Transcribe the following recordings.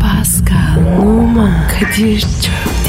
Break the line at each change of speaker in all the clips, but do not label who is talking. Pascal, Oman, Kadir çok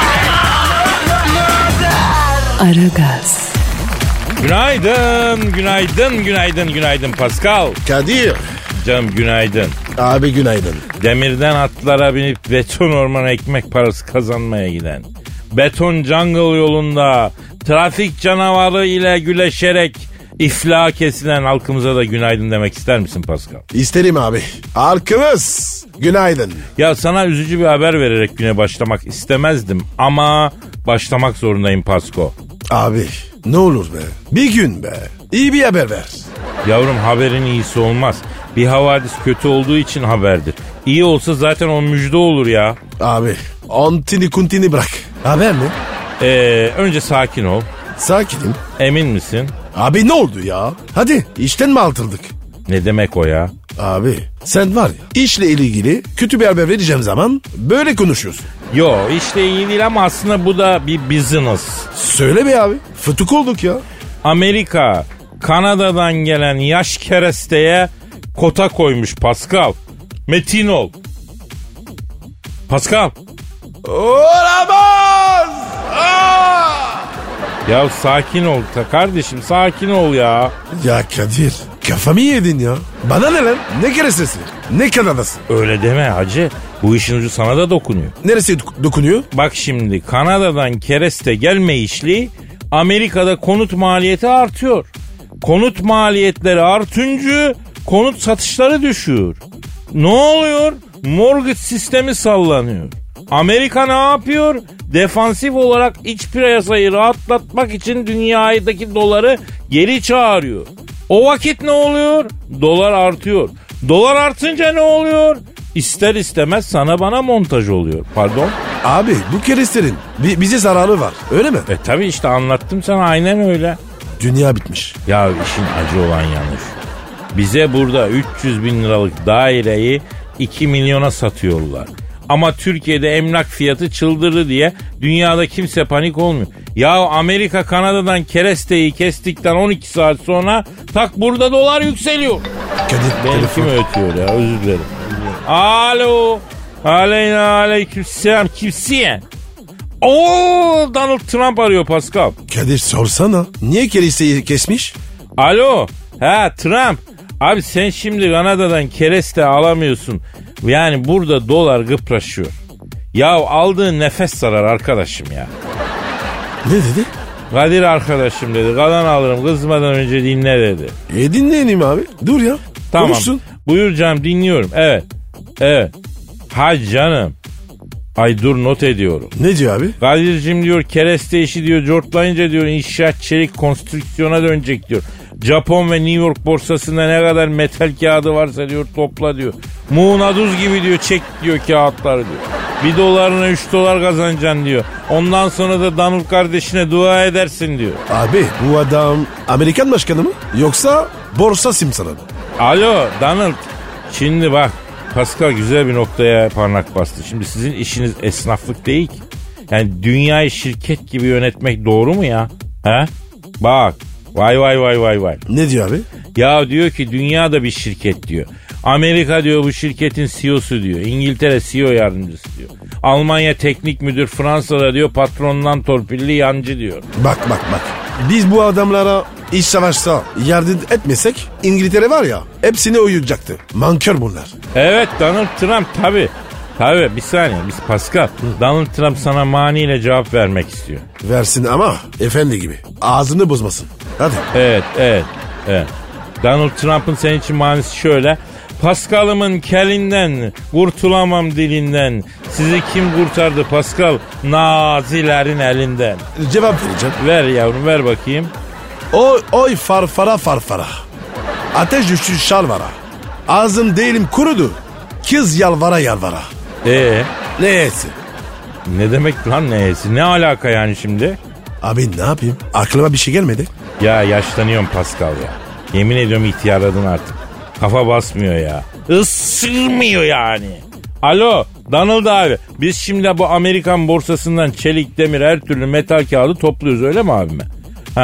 Aragaz,
Günaydın, günaydın, günaydın, günaydın Pascal.
Kadir.
Canım günaydın.
Abi günaydın.
Demirden atlara binip beton ormana ekmek parası kazanmaya giden. Beton jungle yolunda trafik canavarı ile güleşerek iflaha kesilen halkımıza da günaydın demek ister misin Pascal?
İsterim abi. Halkımız. Günaydın.
Ya sana üzücü bir haber vererek güne başlamak istemezdim ama başlamak zorundayım Pasko.
Abi ne olur be. Bir gün be. İyi bir haber ver.
Yavrum haberin iyisi olmaz. Bir havadis kötü olduğu için haberdir. İyi olsa zaten o müjde olur ya.
Abi antini kuntini bırak. Haber mi?
Ee, önce sakin ol.
Sakinim.
Emin misin?
Abi ne oldu ya? Hadi işten mi altıldık?
Ne demek o ya?
Abi sen var ya işle ilgili kötü bir haber vereceğim zaman böyle konuşuyorsun.
Yo işte iyi değil ama aslında bu da bir business.
Söyle be abi. Fıtık olduk ya.
Amerika Kanada'dan gelen yaş keresteye kota koymuş Pascal. Metin ol. Pascal.
Olamaz!
Ya sakin ol ta kardeşim sakin ol ya.
Ya Kadir kafamı yedin ya. Bana ne lan? Ne keresesi? Ne Kanadası?
Öyle deme hacı. Bu işin ucu sana da dokunuyor.
Neresi dok- dokunuyor?
Bak şimdi Kanada'dan kereste gelmeyişli Amerika'da konut maliyeti artıyor. Konut maliyetleri artınca konut satışları düşüyor. Ne oluyor? Mortgage sistemi sallanıyor. Amerika ne yapıyor? Defansif olarak iç piyasayı rahatlatmak için dünyadaki doları geri çağırıyor. O vakit ne oluyor? Dolar artıyor. Dolar artınca ne oluyor? İster istemez sana bana montaj oluyor. Pardon?
Abi bu kerestenin bi- bize zararı var öyle mi?
E tabi işte anlattım sana aynen öyle.
Dünya bitmiş.
Ya işin acı olan yanlış. Bize burada 300 bin liralık daireyi 2 milyona satıyorlar. Ama Türkiye'de emlak fiyatı çıldırdı diye dünyada kimse panik olmuyor. Ya Amerika Kanada'dan keresteyi kestikten 12 saat sonra tak burada dolar yükseliyor.
Kadir
Benim kim
telefon.
ötüyor ya özür dilerim. Alo. Aleyna aleyküm selam. Kimsin? Oo Donald Trump arıyor Pascal.
Kadir sorsana. Niye keresteyi kesmiş?
Alo. Ha Trump. Abi sen şimdi Kanada'dan kereste alamıyorsun. Yani burada dolar gıpraşıyor. Ya aldığın nefes zarar arkadaşım ya.
Ne dedi?
Kadir arkadaşım dedi. Kalan alırım kızmadan önce dinle dedi.
E dinleyelim abi. Dur ya.
Tamam.
Konuşsun.
Buyur canım dinliyorum. Evet. Evet. Ha canım. Ay dur not ediyorum.
Ne diyor abi?
Kadir'cim diyor kereste işi diyor cortlayınca diyor inşaat çelik konstrüksiyona dönecek diyor. Japon ve New York borsasında ne kadar metal kağıdı varsa diyor topla diyor. Muğnaduz gibi diyor çek diyor kağıtları diyor. Bir dolarına üç dolar kazanacaksın diyor. Ondan sonra da Donald kardeşine dua edersin diyor.
Abi bu adam Amerikan başkanı mı? Yoksa borsa simsarı mı?
Alo Donald. Şimdi bak Pascal güzel bir noktaya parmak bastı. Şimdi sizin işiniz esnaflık değil ki. Yani dünyayı şirket gibi yönetmek doğru mu ya? He? Bak. Vay vay vay vay vay.
Ne diyor abi?
Ya diyor ki dünya da bir şirket diyor. Amerika diyor bu şirketin CEO'su diyor. İngiltere CEO yardımcısı diyor. Almanya teknik müdür Fransa'da diyor patrondan torpilli yancı diyor.
Bak bak bak. Biz bu adamlara iç savaşta yardım etmesek İngiltere var ya hepsini uyutacaktı. Mankör bunlar.
Evet Donald Trump tabi. Tabi bir saniye biz Pascal. Donald Trump sana maniyle cevap vermek istiyor.
Versin ama efendi gibi. Ağzını bozmasın. Hadi.
Evet evet evet. Donald Trump'ın senin için manisi şöyle. Pascal'ımın kelinden, kurtulamam dilinden. Sizi kim kurtardı Pascal? Nazilerin elinden.
Cevap vereceğim.
Ver yavrum ver bakayım.
Oy, oy farfara farfara. Ateş düştü şalvara. Ağzım değilim kurudu. Kız yalvara yalvara.
Ee,
Neyse.
Ne demek lan neyesi? Ne alaka yani şimdi?
Abi ne yapayım? Aklıma bir şey gelmedi.
Ya yaşlanıyorum Pascal ya. Yemin ediyorum ihtiyarladın artık. Kafa basmıyor ya. Isırmıyor yani. Alo Donald abi biz şimdi bu Amerikan borsasından çelik, demir, her türlü metal kağıdı topluyoruz öyle mi abime? Ha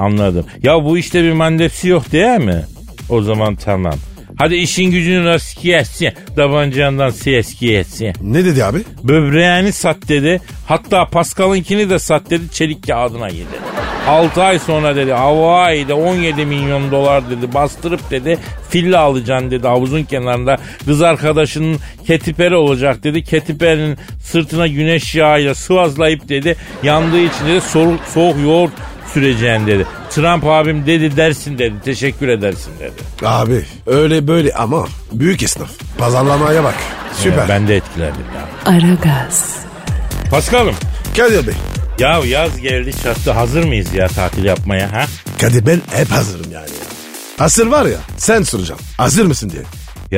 anladım. Ya bu işte bir mandepsi yok değil mi? O zaman tamam. Hadi işin gücünü rast gelsin. Tabancandan ses gelsin.
Ne dedi abi?
Böbreğini sat dedi. Hatta Pascal'ınkini de sat dedi. Çelik kağıdına girdi. 6 ay sonra dedi Hawaii'de 17 milyon dolar dedi bastırıp dedi filla alacaksın dedi havuzun kenarında kız arkadaşının ketiperi olacak dedi ketiperinin sırtına güneş yağıyla sıvazlayıp dedi yandığı için dedi soğuk, soğuk yoğurt süreceğin dedi. Trump abim dedi dersin dedi teşekkür edersin dedi.
Abi öyle böyle ama büyük esnaf. Pazarlamaya bak. Süper.
Ya ben de etkilendim ya.
Aragaz,
Paskal'ım
Kadir Bey.
Ya yaz geldi çattı hazır mıyız ya tatil yapmaya ha?
Kadir ben hep hazırım yani. Ya. Hazır var ya sen soracaksın. Hazır mısın diye.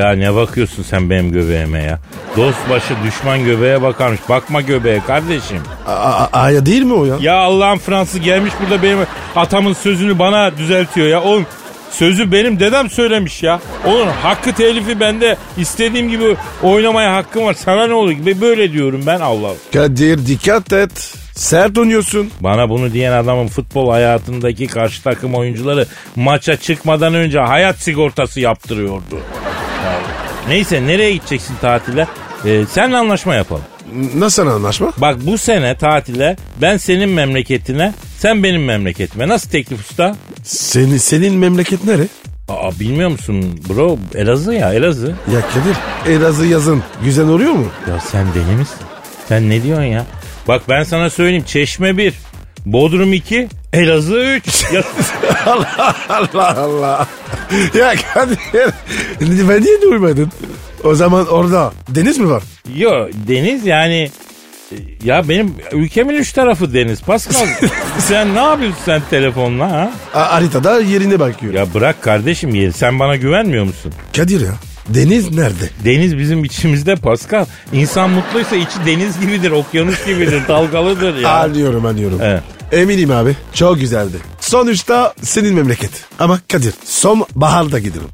Ya ne bakıyorsun sen benim göbeğime ya? Dost başı düşman göbeğe bakarmış. Bakma göbeğe kardeşim.
A- a- Aya değil mi o ya?
Ya Allah'ın Fransız gelmiş burada benim atamın sözünü bana düzeltiyor ya. Oğlum sözü benim dedem söylemiş ya. Oğlum hakkı telifi bende. İstediğim gibi oynamaya hakkım var. Sana ne olur? Ve Böyle diyorum ben Allah.
Kadir dikkat et. Sert oynuyorsun.
Bana bunu diyen adamın futbol hayatındaki karşı takım oyuncuları maça çıkmadan önce hayat sigortası yaptırıyordu. Yani Neyse nereye gideceksin tatile? Ee, senle anlaşma yapalım.
N- Nasıl anlaşma?
Bak bu sene tatile ben senin memleketine, sen benim memleketime. Nasıl teklif usta?
Senin, senin memleket nere?
Aa bilmiyor musun bro? Elazığ ya Elazığ.
Ya Kadir Elazığ yazın güzel oluyor mu?
Ya sen deli misin? Sen ne diyorsun ya? Bak ben sana söyleyeyim Çeşme 1, Bodrum 2, Elazığ 3. Ya
Allah Allah Allah. Ya Kadir ben niye duymadın? O zaman orada deniz mi var?
Yo deniz yani e, ya benim ülkemin üç tarafı deniz Pascal. sen ne yapıyorsun sen telefonla ha?
A- haritada yerine bakıyor.
Ya bırak kardeşim yeri sen bana güvenmiyor musun?
Kadir ya deniz nerede?
Deniz bizim içimizde Pascal. İnsan mutluysa içi deniz gibidir, okyanus gibidir, dalgalıdır ya.
Anlıyorum anlıyorum.
Evet.
Eminim abi çok güzeldi. Sonuçta senin memleket. Ama Kadir son baharda gidelim.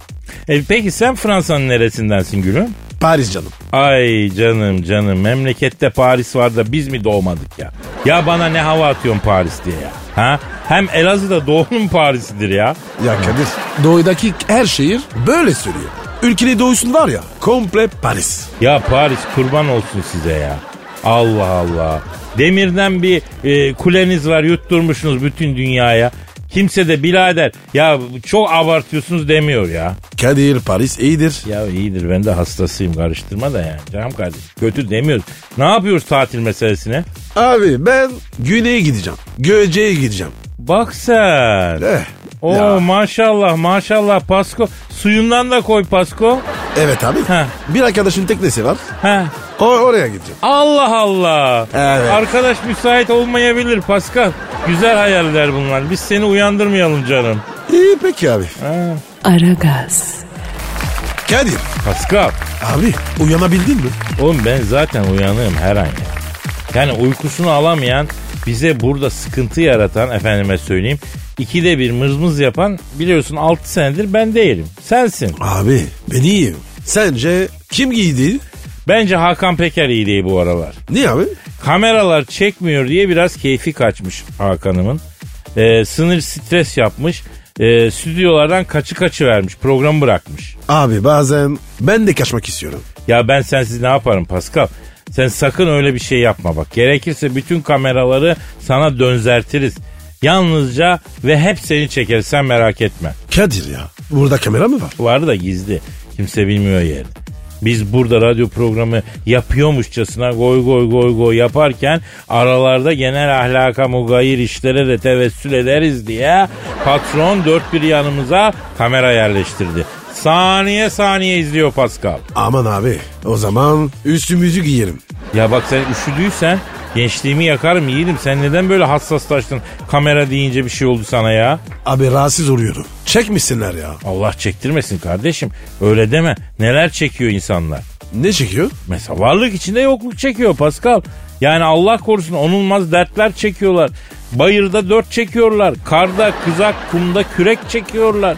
E, peki sen Fransa'nın neresindensin gülüm?
Paris canım.
Ay canım canım memlekette Paris var da biz mi doğmadık ya? Ya bana ne hava atıyorsun Paris diye ya? Ha? Hem Elazığ'da doğunun Paris'idir ya.
Ya Kadir doğudaki her şehir böyle sürüyor. Ülkenin doğusun var ya komple Paris.
Ya Paris kurban olsun size ya. Allah Allah. Demirden bir e, kuleniz var yutturmuşsunuz bütün dünyaya. Kimse de birader ya çok abartıyorsunuz demiyor ya.
Kadir Paris iyidir.
Ya iyidir ben de hastasıyım karıştırma da yani canım kardeşim. Kötü demiyoruz. Ne yapıyoruz tatil meselesine?
Abi ben güneye gideceğim. Göce'ye gideceğim.
Bak sen.
Eh.
Oo
ya.
maşallah maşallah Pasko. Suyundan da koy Pasko.
Evet abi.
Heh.
Bir arkadaşın teknesi var.
Heh.
O oraya gideceğim.
Allah Allah.
Evet.
Arkadaş müsait olmayabilir Pascal. Güzel hayaller bunlar. Biz seni uyandırmayalım canım.
İyi peki abi.
Aragaz,
Kadir.
Pascal.
Abi uyanabildin mi?
Oğlum ben zaten uyanığım her an ya. Yani uykusunu alamayan, bize burada sıkıntı yaratan efendime söyleyeyim. ikide bir mızmız yapan biliyorsun 6 senedir ben değilim. Sensin.
Abi ben iyiyim. Sence kim giydi?
Bence Hakan Peker iyi değil bu aralar.
Niye abi?
Kameralar çekmiyor diye biraz keyfi kaçmış Hakan'ımın. Ee, sınır stres yapmış. Ee, stüdyolardan kaçı kaçı vermiş. Programı bırakmış.
Abi bazen ben de kaçmak istiyorum.
Ya ben sensiz ne yaparım Pascal? Sen sakın öyle bir şey yapma bak. Gerekirse bütün kameraları sana dönzertiriz. Yalnızca ve hep seni çekeriz sen merak etme.
Kadir ya. Burada kamera mı var?
Vardı da gizli. Kimse bilmiyor yerini. Biz burada radyo programı yapıyormuşçasına goy goy goy goy yaparken aralarda genel ahlaka mugayir işlere de tevessül ederiz diye patron dört bir yanımıza kamera yerleştirdi. Saniye saniye izliyor Pascal.
Aman abi. O zaman üstümüzü giyerim.
Ya bak sen üşüdüysen gençliğimi yakarım yiğidim. Sen neden böyle hassaslaştın kamera deyince bir şey oldu sana ya?
Abi rahatsız oluyorum. Çekmişsinler ya.
Allah çektirmesin kardeşim. Öyle deme. Neler çekiyor insanlar.
Ne çekiyor?
Mesela varlık içinde yokluk çekiyor Pascal. Yani Allah korusun onulmaz dertler çekiyorlar. Bayırda dört çekiyorlar. Karda, kızak, kumda kürek çekiyorlar.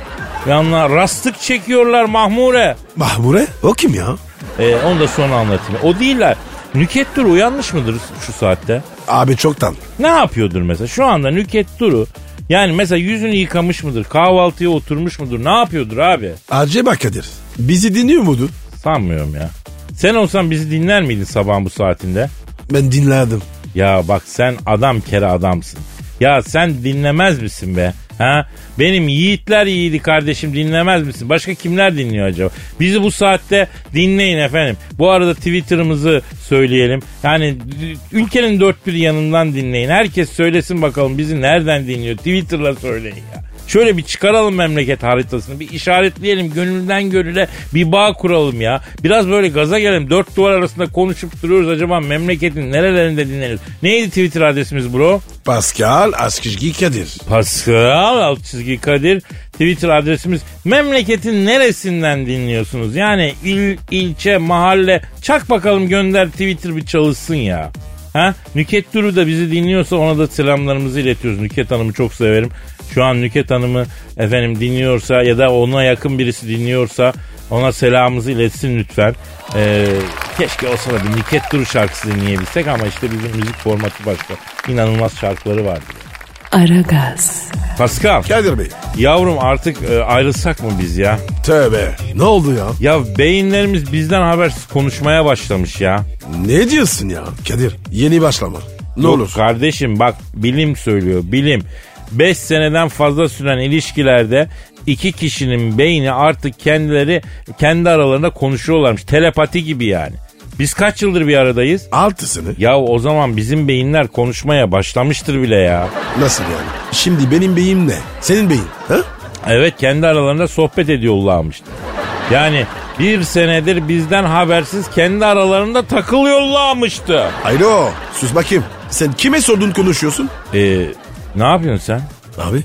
Yanına rastlık çekiyorlar Mahmure.
Mahmure? O kim ya?
Ee, onu da sonra anlatayım. O değiller. Nükhet Duru uyanmış mıdır şu saatte?
Abi çoktan.
Ne yapıyordur mesela? Şu anda Nükhet Duru yani mesela yüzünü yıkamış mıdır? Kahvaltıya oturmuş mudur? Ne yapıyordur abi?
Acaba Kadir. Bizi dinliyor muydu?
Sanmıyorum ya. Sen olsan bizi dinler miydin sabahın bu saatinde?
Ben dinlerdim.
Ya bak sen adam kere adamsın. Ya sen dinlemez misin be? Ha? Benim yiğitler yiğidi kardeşim dinlemez misin? Başka kimler dinliyor acaba? Bizi bu saatte dinleyin efendim. Bu arada Twitter'ımızı söyleyelim. Yani ülkenin dört bir yanından dinleyin. Herkes söylesin bakalım bizi nereden dinliyor? Twitter'la söyleyin ya. Şöyle bir çıkaralım memleket haritasını. Bir işaretleyelim gönülden gönüle bir bağ kuralım ya. Biraz böyle gaza gelelim. Dört duvar arasında konuşup duruyoruz. Acaba memleketin nerelerinde dinlenir? Neydi Twitter adresimiz bro?
Pascal Askizgi Kadir.
Pascal alt çizgi Kadir. Twitter adresimiz memleketin neresinden dinliyorsunuz? Yani il, ilçe, mahalle. Çak bakalım gönder Twitter bir çalışsın ya. Ha? Nüket Duru da bizi dinliyorsa ona da selamlarımızı iletiyoruz. Nüket Hanım'ı çok severim. Şu an Nüket Hanım'ı efendim dinliyorsa ya da ona yakın birisi dinliyorsa ona selamımızı iletsin lütfen. Ee, keşke olsa da bir Nüket Duru şarkısı dinleyebilsek ama işte bizim müzik formatı başka. İnanılmaz şarkıları vardı.
Aragaz,
Pascal.
Kadir Bey.
Yavrum artık e, ayrılsak mı biz ya?
Tövbe. Ne oldu ya?
Ya beyinlerimiz bizden habersiz konuşmaya başlamış ya.
Ne diyorsun ya? Kadir yeni başlama. Ne
Yok
olur.
Kardeşim bak bilim söylüyor bilim. 5 seneden fazla süren ilişkilerde iki kişinin beyni artık kendileri kendi aralarında konuşuyorlarmış. Telepati gibi yani. Biz kaç yıldır bir aradayız?
Altısını.
Ya o zaman bizim beyinler konuşmaya başlamıştır bile ya.
Nasıl yani? Şimdi benim beyim ne? Senin beyin. Ha?
Evet kendi aralarında sohbet ediyorlarmış. Yani bir senedir bizden habersiz kendi aralarında takılıyorlarmıştı.
Alo. Sus bakayım. Sen kime sordun konuşuyorsun?
Ee, ne yapıyorsun sen?
Abi.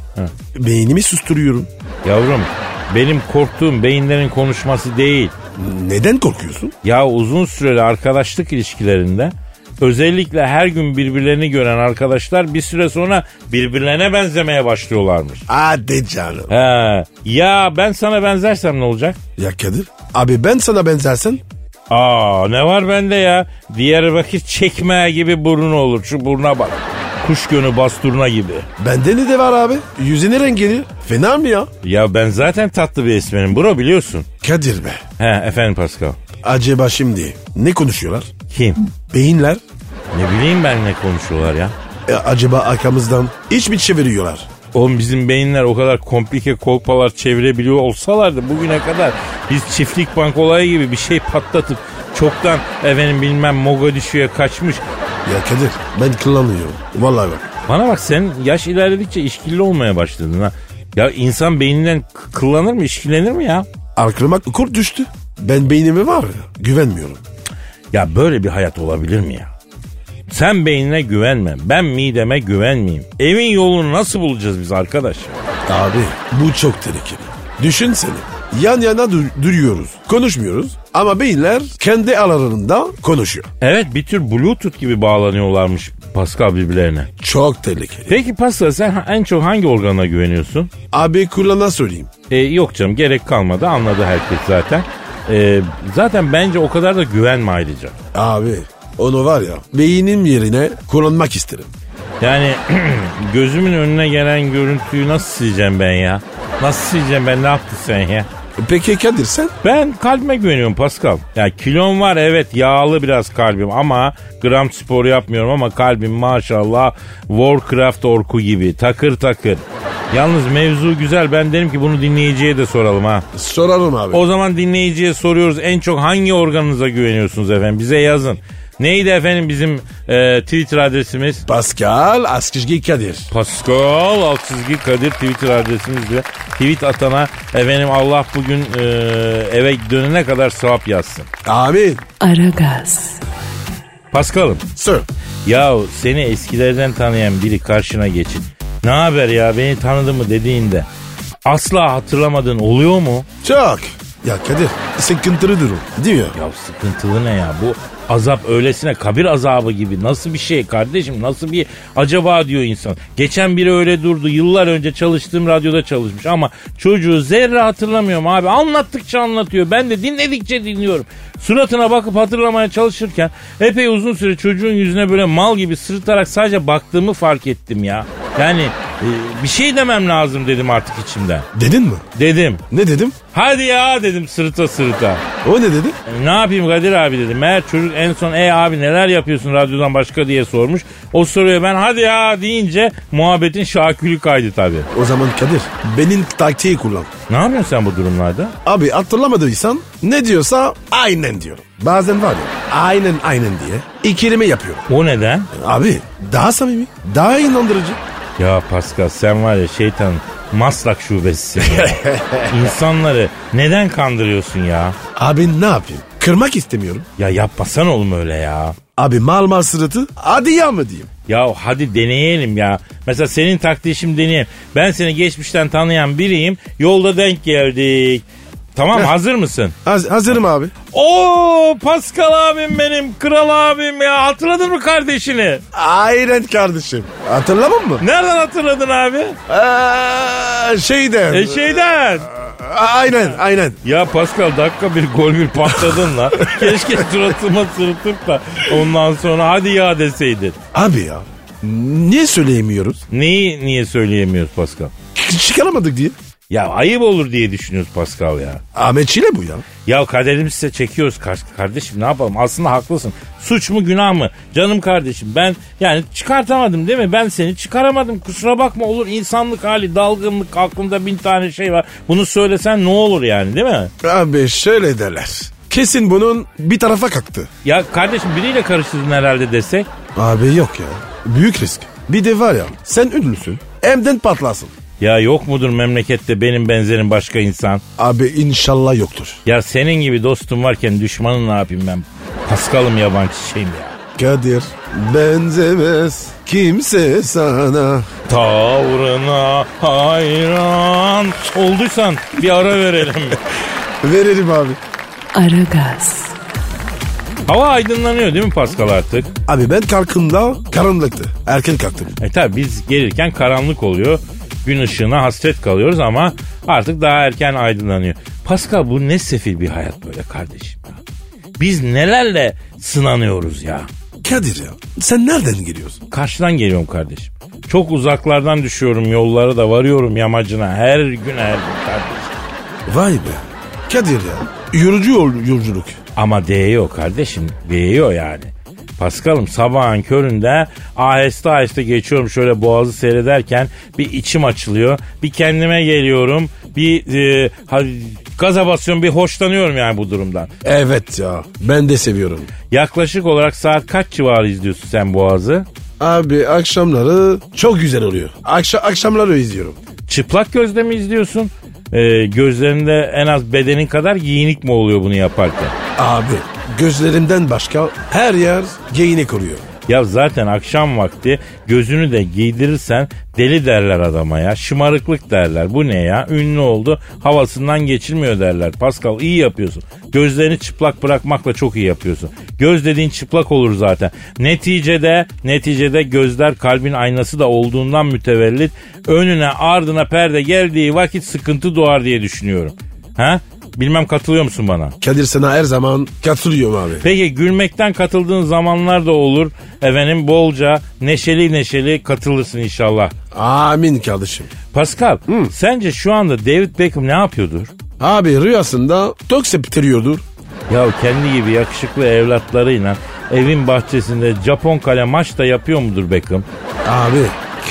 Beynimi susturuyorum.
Yavrum benim korktuğum beyinlerin konuşması değil.
Neden korkuyorsun?
Ya uzun süreli arkadaşlık ilişkilerinde özellikle her gün birbirlerini gören arkadaşlar bir süre sonra birbirlerine benzemeye başlıyorlarmış.
Hadi canım.
He, ya ben sana benzersem ne olacak?
Ya Kadir. Abi ben sana benzersen
Aa ne var bende ya? Diyarbakır çekme gibi burnu olur. Şu buruna bak. Kuş gönü basturna gibi.
bende ne de var abi? Yüzüne rengini. Fena mı ya?
Ya ben zaten tatlı bir esmerim bro biliyorsun.
Kadir be.
He efendim Pascal.
Acaba şimdi ne konuşuyorlar?
Kim?
Beyinler.
Ne bileyim ben ne konuşuyorlar ya.
E, acaba arkamızdan iç mi çeviriyorlar?
Oğlum bizim beyinler o kadar komplike kolpalar çevirebiliyor olsalardı bugüne kadar biz çiftlik bank olayı gibi bir şey patlatıp çoktan efendim bilmem Mogadishu'ya kaçmış.
Ya Kadir ben kullanıyorum. Vallahi bak.
Bana bak sen yaş ilerledikçe işkilli olmaya başladın ha. Ya insan beyninden k- kıllanır mı, işkillenir mi ya?
Aklıma kurt düştü. Ben beynime var ya güvenmiyorum.
Ya böyle bir hayat olabilir mi ya? Sen beynine güvenme, ben mideme güvenmeyeyim. Evin yolunu nasıl bulacağız biz arkadaş?
Abi bu çok tehlikeli. Düşünsene yan yana du- duruyoruz. Konuşmuyoruz ama beyinler kendi aralarında konuşuyor.
Evet bir tür bluetooth gibi bağlanıyorlarmış Pascal birbirlerine.
Çok tehlikeli.
Peki Pascal sen ha- en çok hangi organa güveniyorsun?
Abi kullana söyleyeyim.
E, yok canım gerek kalmadı anladı herkes zaten. E, zaten bence o kadar da güvenme ayrıca.
Abi onu var ya beynim yerine kullanmak isterim.
Yani gözümün önüne gelen görüntüyü nasıl sileceğim ben ya? Nasıl sileceğim ben ne yaptın sen ya?
Peki Kadir sen?
Ben kalbime güveniyorum Pascal. Ya kilom var evet yağlı biraz kalbim ama gram spor yapmıyorum ama kalbim maşallah Warcraft orku gibi takır takır. Yalnız mevzu güzel ben derim ki bunu dinleyiciye de soralım ha.
Sorarım abi.
O zaman dinleyiciye soruyoruz en çok hangi organınıza güveniyorsunuz efendim bize yazın. Neydi efendim bizim e, Twitter adresimiz?
Pascal Askizgi Kadir.
Pascal alt çizgi Kadir Twitter adresimizle tweet atana efendim Allah bugün e, eve dönene kadar sevap yazsın.
Abi
Aragaz,
Paskal'ım
sor.
ya seni eskilerden tanıyan biri karşına geçip ne haber ya beni tanıdı mı dediğinde asla hatırlamadığın oluyor mu?
Çok. Ya Kadir sıkıntılı durum değil mi ya?
Ya sıkıntılı ne ya bu azap öylesine kabir azabı gibi nasıl bir şey kardeşim nasıl bir acaba diyor insan. Geçen biri öyle durdu yıllar önce çalıştığım radyoda çalışmış ama çocuğu zerre hatırlamıyorum abi anlattıkça anlatıyor ben de dinledikçe dinliyorum. Suratına bakıp hatırlamaya çalışırken epey uzun süre çocuğun yüzüne böyle mal gibi sırıtarak sadece baktığımı fark ettim ya. Yani e, bir şey demem lazım dedim artık içimden.
Dedin mi?
Dedim.
Ne dedim?
Hadi ya dedim sırıta sırıta.
O ne dedi?
E, Ne yapayım Kadir abi dedim. Meğer çocuk en son e abi neler yapıyorsun radyodan başka diye sormuş. O soruya ben hadi ya deyince muhabbetin şakülü kaydı tabii.
O zaman Kadir benim taktiği kullan.
Ne yapıyorsun sen bu durumlarda?
Abi hatırlamadıysan ne diyorsa aynen diyorum. Bazen var ya aynen aynen diye ikileme yapıyorum.
O neden?
Abi daha samimi, daha inandırıcı.
Ya Pascal sen var ya şeytan maslak şubesisin ya. İnsanları neden kandırıyorsun ya?
Abi ne yapayım? Kırmak istemiyorum.
Ya yapmasan oğlum öyle ya.
Abi mal mal sırtı hadi ya mı diyeyim?
Ya hadi deneyelim ya. Mesela senin taktiği şimdi deneyelim. Ben seni geçmişten tanıyan biriyim. Yolda denk geldik. Tamam hazır mısın?
Haz- hazırım abi.
Oo Pascal abim benim kral abim ya hatırladın mı kardeşini?
Aynen kardeşim. Hatırlamam mı?
Nereden hatırladın abi?
Ee, şeyden.
E şeyden.
Aynen aynen.
Ya Pascal dakika bir gol bir patladın la. Keşke suratıma sırıtıp da ondan sonra hadi ya deseydin.
Abi ya niye söyleyemiyoruz?
Neyi niye söyleyemiyoruz Pascal?
Ç- Çıkaramadık diye.
Ya ayıp olur diye düşünüyoruz Pascal ya.
Ahmet Çile bu ya.
Ya kaderimizse çekiyoruz kar- kardeşim ne yapalım aslında haklısın. Suç mu günah mı? Canım kardeşim ben yani çıkartamadım değil mi? Ben seni çıkaramadım kusura bakma olur insanlık hali dalgınlık aklımda bin tane şey var. Bunu söylesen ne olur yani değil mi?
Abi şöyle derler. Kesin bunun bir tarafa kalktı.
Ya kardeşim biriyle karıştırdın herhalde desek.
Abi yok ya. Büyük risk. Bir de var ya sen ünlüsün. Hemden patlasın.
Ya yok mudur memlekette benim benzerim başka insan?
Abi inşallah yoktur.
Ya senin gibi dostum varken düşmanın ne yapayım ben? Paskalım yaban çiçeğim ya.
Kadir benzemez kimse sana.
Tavrına hayran olduysan bir ara verelim.
Verelim abi.
Aragaz,
Hava aydınlanıyor değil mi Pascal artık?
Abi ben kalkımda karanlıktı. Erken kalktım.
E tabi biz gelirken karanlık oluyor. Gün ışığına hasret kalıyoruz ama artık daha erken aydınlanıyor. Pascal bu ne sefil bir hayat böyle kardeşim ya. Biz nelerle sınanıyoruz ya.
Kadir ya sen nereden geliyorsun?
Karşıdan geliyorum kardeşim. Çok uzaklardan düşüyorum yollara da varıyorum yamacına her gün her gün kardeşim.
Vay be. Kadir ya yorucu yol, yolculuk.
Ama değiyor kardeşim. Değiyor yani. Paskal'ım sabahın köründe aheste aheste geçiyorum şöyle boğazı seyrederken bir içim açılıyor. Bir kendime geliyorum. Bir e, ha- gaza basıyorum bir hoşlanıyorum yani bu durumdan.
Evet ya ben de seviyorum.
Yaklaşık olarak saat kaç civarı izliyorsun sen boğazı?
Abi akşamları çok güzel oluyor. Akşa akşamları izliyorum.
Çıplak gözle mi izliyorsun? E, gözlerinde en az bedenin kadar giyinik mi oluyor bunu yaparken?
Abi gözlerimden başka her yer giyinik oluyor.
Ya zaten akşam vakti gözünü de giydirirsen deli derler adama ya. Şımarıklık derler. Bu ne ya? Ünlü oldu. Havasından geçilmiyor derler. Pascal iyi yapıyorsun. Gözlerini çıplak bırakmakla çok iyi yapıyorsun. Göz dediğin çıplak olur zaten. Neticede neticede gözler kalbin aynası da olduğundan mütevellit önüne ardına perde geldiği vakit sıkıntı doğar diye düşünüyorum. Ha? Bilmem katılıyor musun bana?
Kadir sana her zaman katılıyorum abi.
Peki gülmekten katıldığın zamanlar da olur. Efendim bolca neşeli neşeli katılırsın inşallah.
Amin kardeşim.
Pascal sence şu anda David Beckham ne yapıyordur?
Abi rüyasında tok septiriyordur.
Ya kendi gibi yakışıklı evlatlarıyla evin bahçesinde Japon kale maç da yapıyor mudur Beckham?
Abi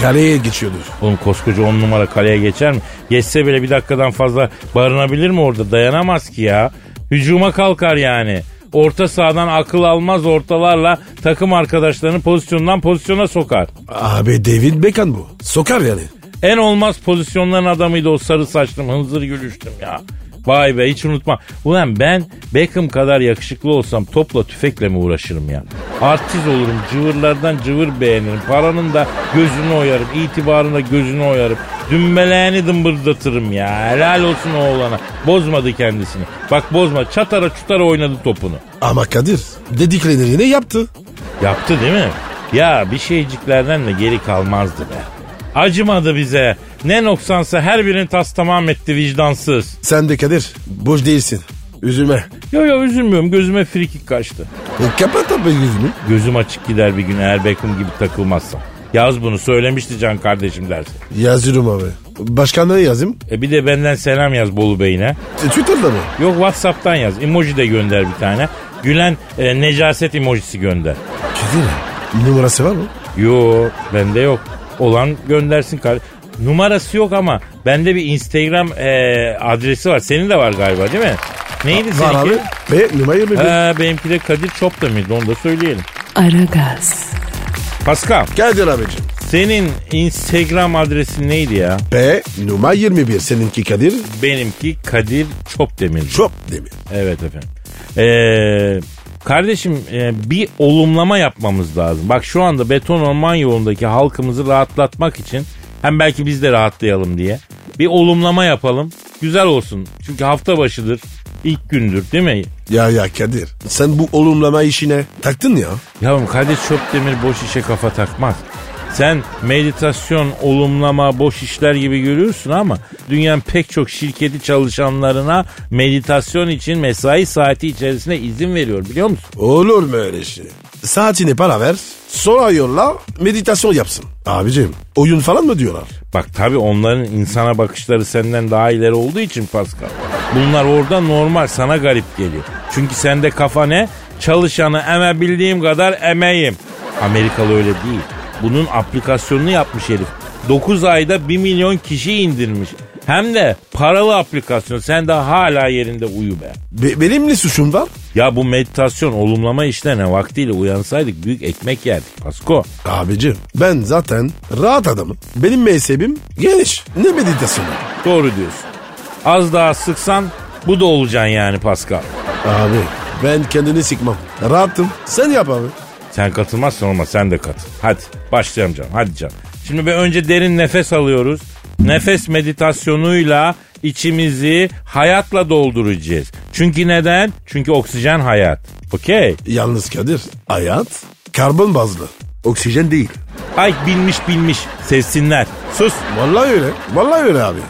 kareye geçiyordur.
Oğlum koskoca on numara kaleye geçer mi? Geçse bile bir dakikadan fazla barınabilir mi orada? Dayanamaz ki ya. Hücuma kalkar yani. Orta sahadan akıl almaz ortalarla takım arkadaşlarını pozisyondan pozisyona sokar.
Abi David Beckham bu. Sokar yani.
En olmaz pozisyonların adamıydı o sarı saçlım hınzır gülüştüm ya. Vay be hiç unutma. Ulan ben Beckham kadar yakışıklı olsam topla tüfekle mi uğraşırım ya? Artist olurum cıvırlardan cıvır beğenirim. Paranın da gözünü oyarım. itibarın da gözünü oyarım. Dümbeleğini dımbırdatırım ya. Helal olsun oğlana. Bozmadı kendisini. Bak bozma çatara çutara oynadı topunu.
Ama Kadir dediklerini ne yaptı?
Yaptı değil mi? Ya bir şeyciklerden de geri kalmazdı be. Acımadı bize. Ne noksansa her birini tas tamam etti vicdansız.
Sen de Kadir boş değilsin. Üzülme.
Yo yo üzülmüyorum gözüme frikik kaçtı.
E, kapat abi yüzünü.
Gözüm açık gider bir gün eğer Beckham gibi takılmazsam. Yaz bunu söylemişti can kardeşim dersin.
Yazıyorum abi. Başkanlara yazayım.
E bir de benden selam yaz Bolu Bey'ine.
E, Twitter'da mı?
Yok Whatsapp'tan yaz. Emoji de gönder bir tane. Gülen e, necaset emojisi gönder.
Kadir numarası var mı?
Yo bende yok. Olan göndersin kar. Numarası yok ama bende bir Instagram e, adresi var. Senin de var galiba değil mi? Neydi
Var
seninki?
abi. Ve numarayı mı?
Ha, benimki de Kadir Çop'ta mıydı onu da söyleyelim.
Aragaz,
Pascal
Kadir abicim.
senin Instagram adresin neydi ya?
P numara 21 seninki Kadir.
Benimki Kadir Çopdemir.
Çok demir.
Evet efendim. Ee, kardeşim e, bir olumlama yapmamız lazım. Bak şu anda beton orman yolundaki halkımızı rahatlatmak için hem belki biz de rahatlayalım diye bir olumlama yapalım. Güzel olsun. Çünkü hafta başıdır. ilk gündür değil mi?
Ya ya Kadir sen bu olumlama işine taktın ya.
Yavrum Kadir Çöpdemir boş işe kafa takmaz. Sen meditasyon, olumlama, boş işler gibi görüyorsun ama dünyanın pek çok şirketi çalışanlarına meditasyon için mesai saati içerisinde izin veriyor biliyor musun?
Olur mu öyle şey? Saatine para ver. Sonra yolla meditasyon yapsın. Abicim oyun falan mı diyorlar?
Bak tabi onların insana bakışları senden daha ileri olduğu için Pascal. Bunlar orada normal sana garip geliyor. Çünkü sende kafa ne? Çalışanı emebildiğim kadar emeyim. Amerikalı öyle değil. Bunun aplikasyonunu yapmış herif. 9 ayda 1 milyon kişi indirmiş. Hem de paralı aplikasyon. Sen de hala yerinde uyu be.
Be- benim ne suçum var?
Ya bu meditasyon olumlama işlerine vaktiyle uyansaydık büyük ekmek yerdik Pasko.
Abicim ben zaten rahat adamım. Benim mezhebim geniş. Ne meditasyonu?
Doğru diyorsun. Az daha sıksan bu da olacaksın yani Pascal.
Abi ben kendini sıkmam. Rahatım. Sen yap abi.
Sen katılmazsan olmaz sen de katıl. Hadi başlayalım canım hadi canım. Şimdi bir önce derin nefes alıyoruz. Nefes meditasyonuyla içimizi hayatla dolduracağız. Çünkü neden? Çünkü oksijen hayat. Okey.
Yalnız Kadir hayat karbon bazlı. Oksijen değil.
Ay bilmiş bilmiş sessinler. Sus.
Vallahi öyle. Vallahi öyle abi.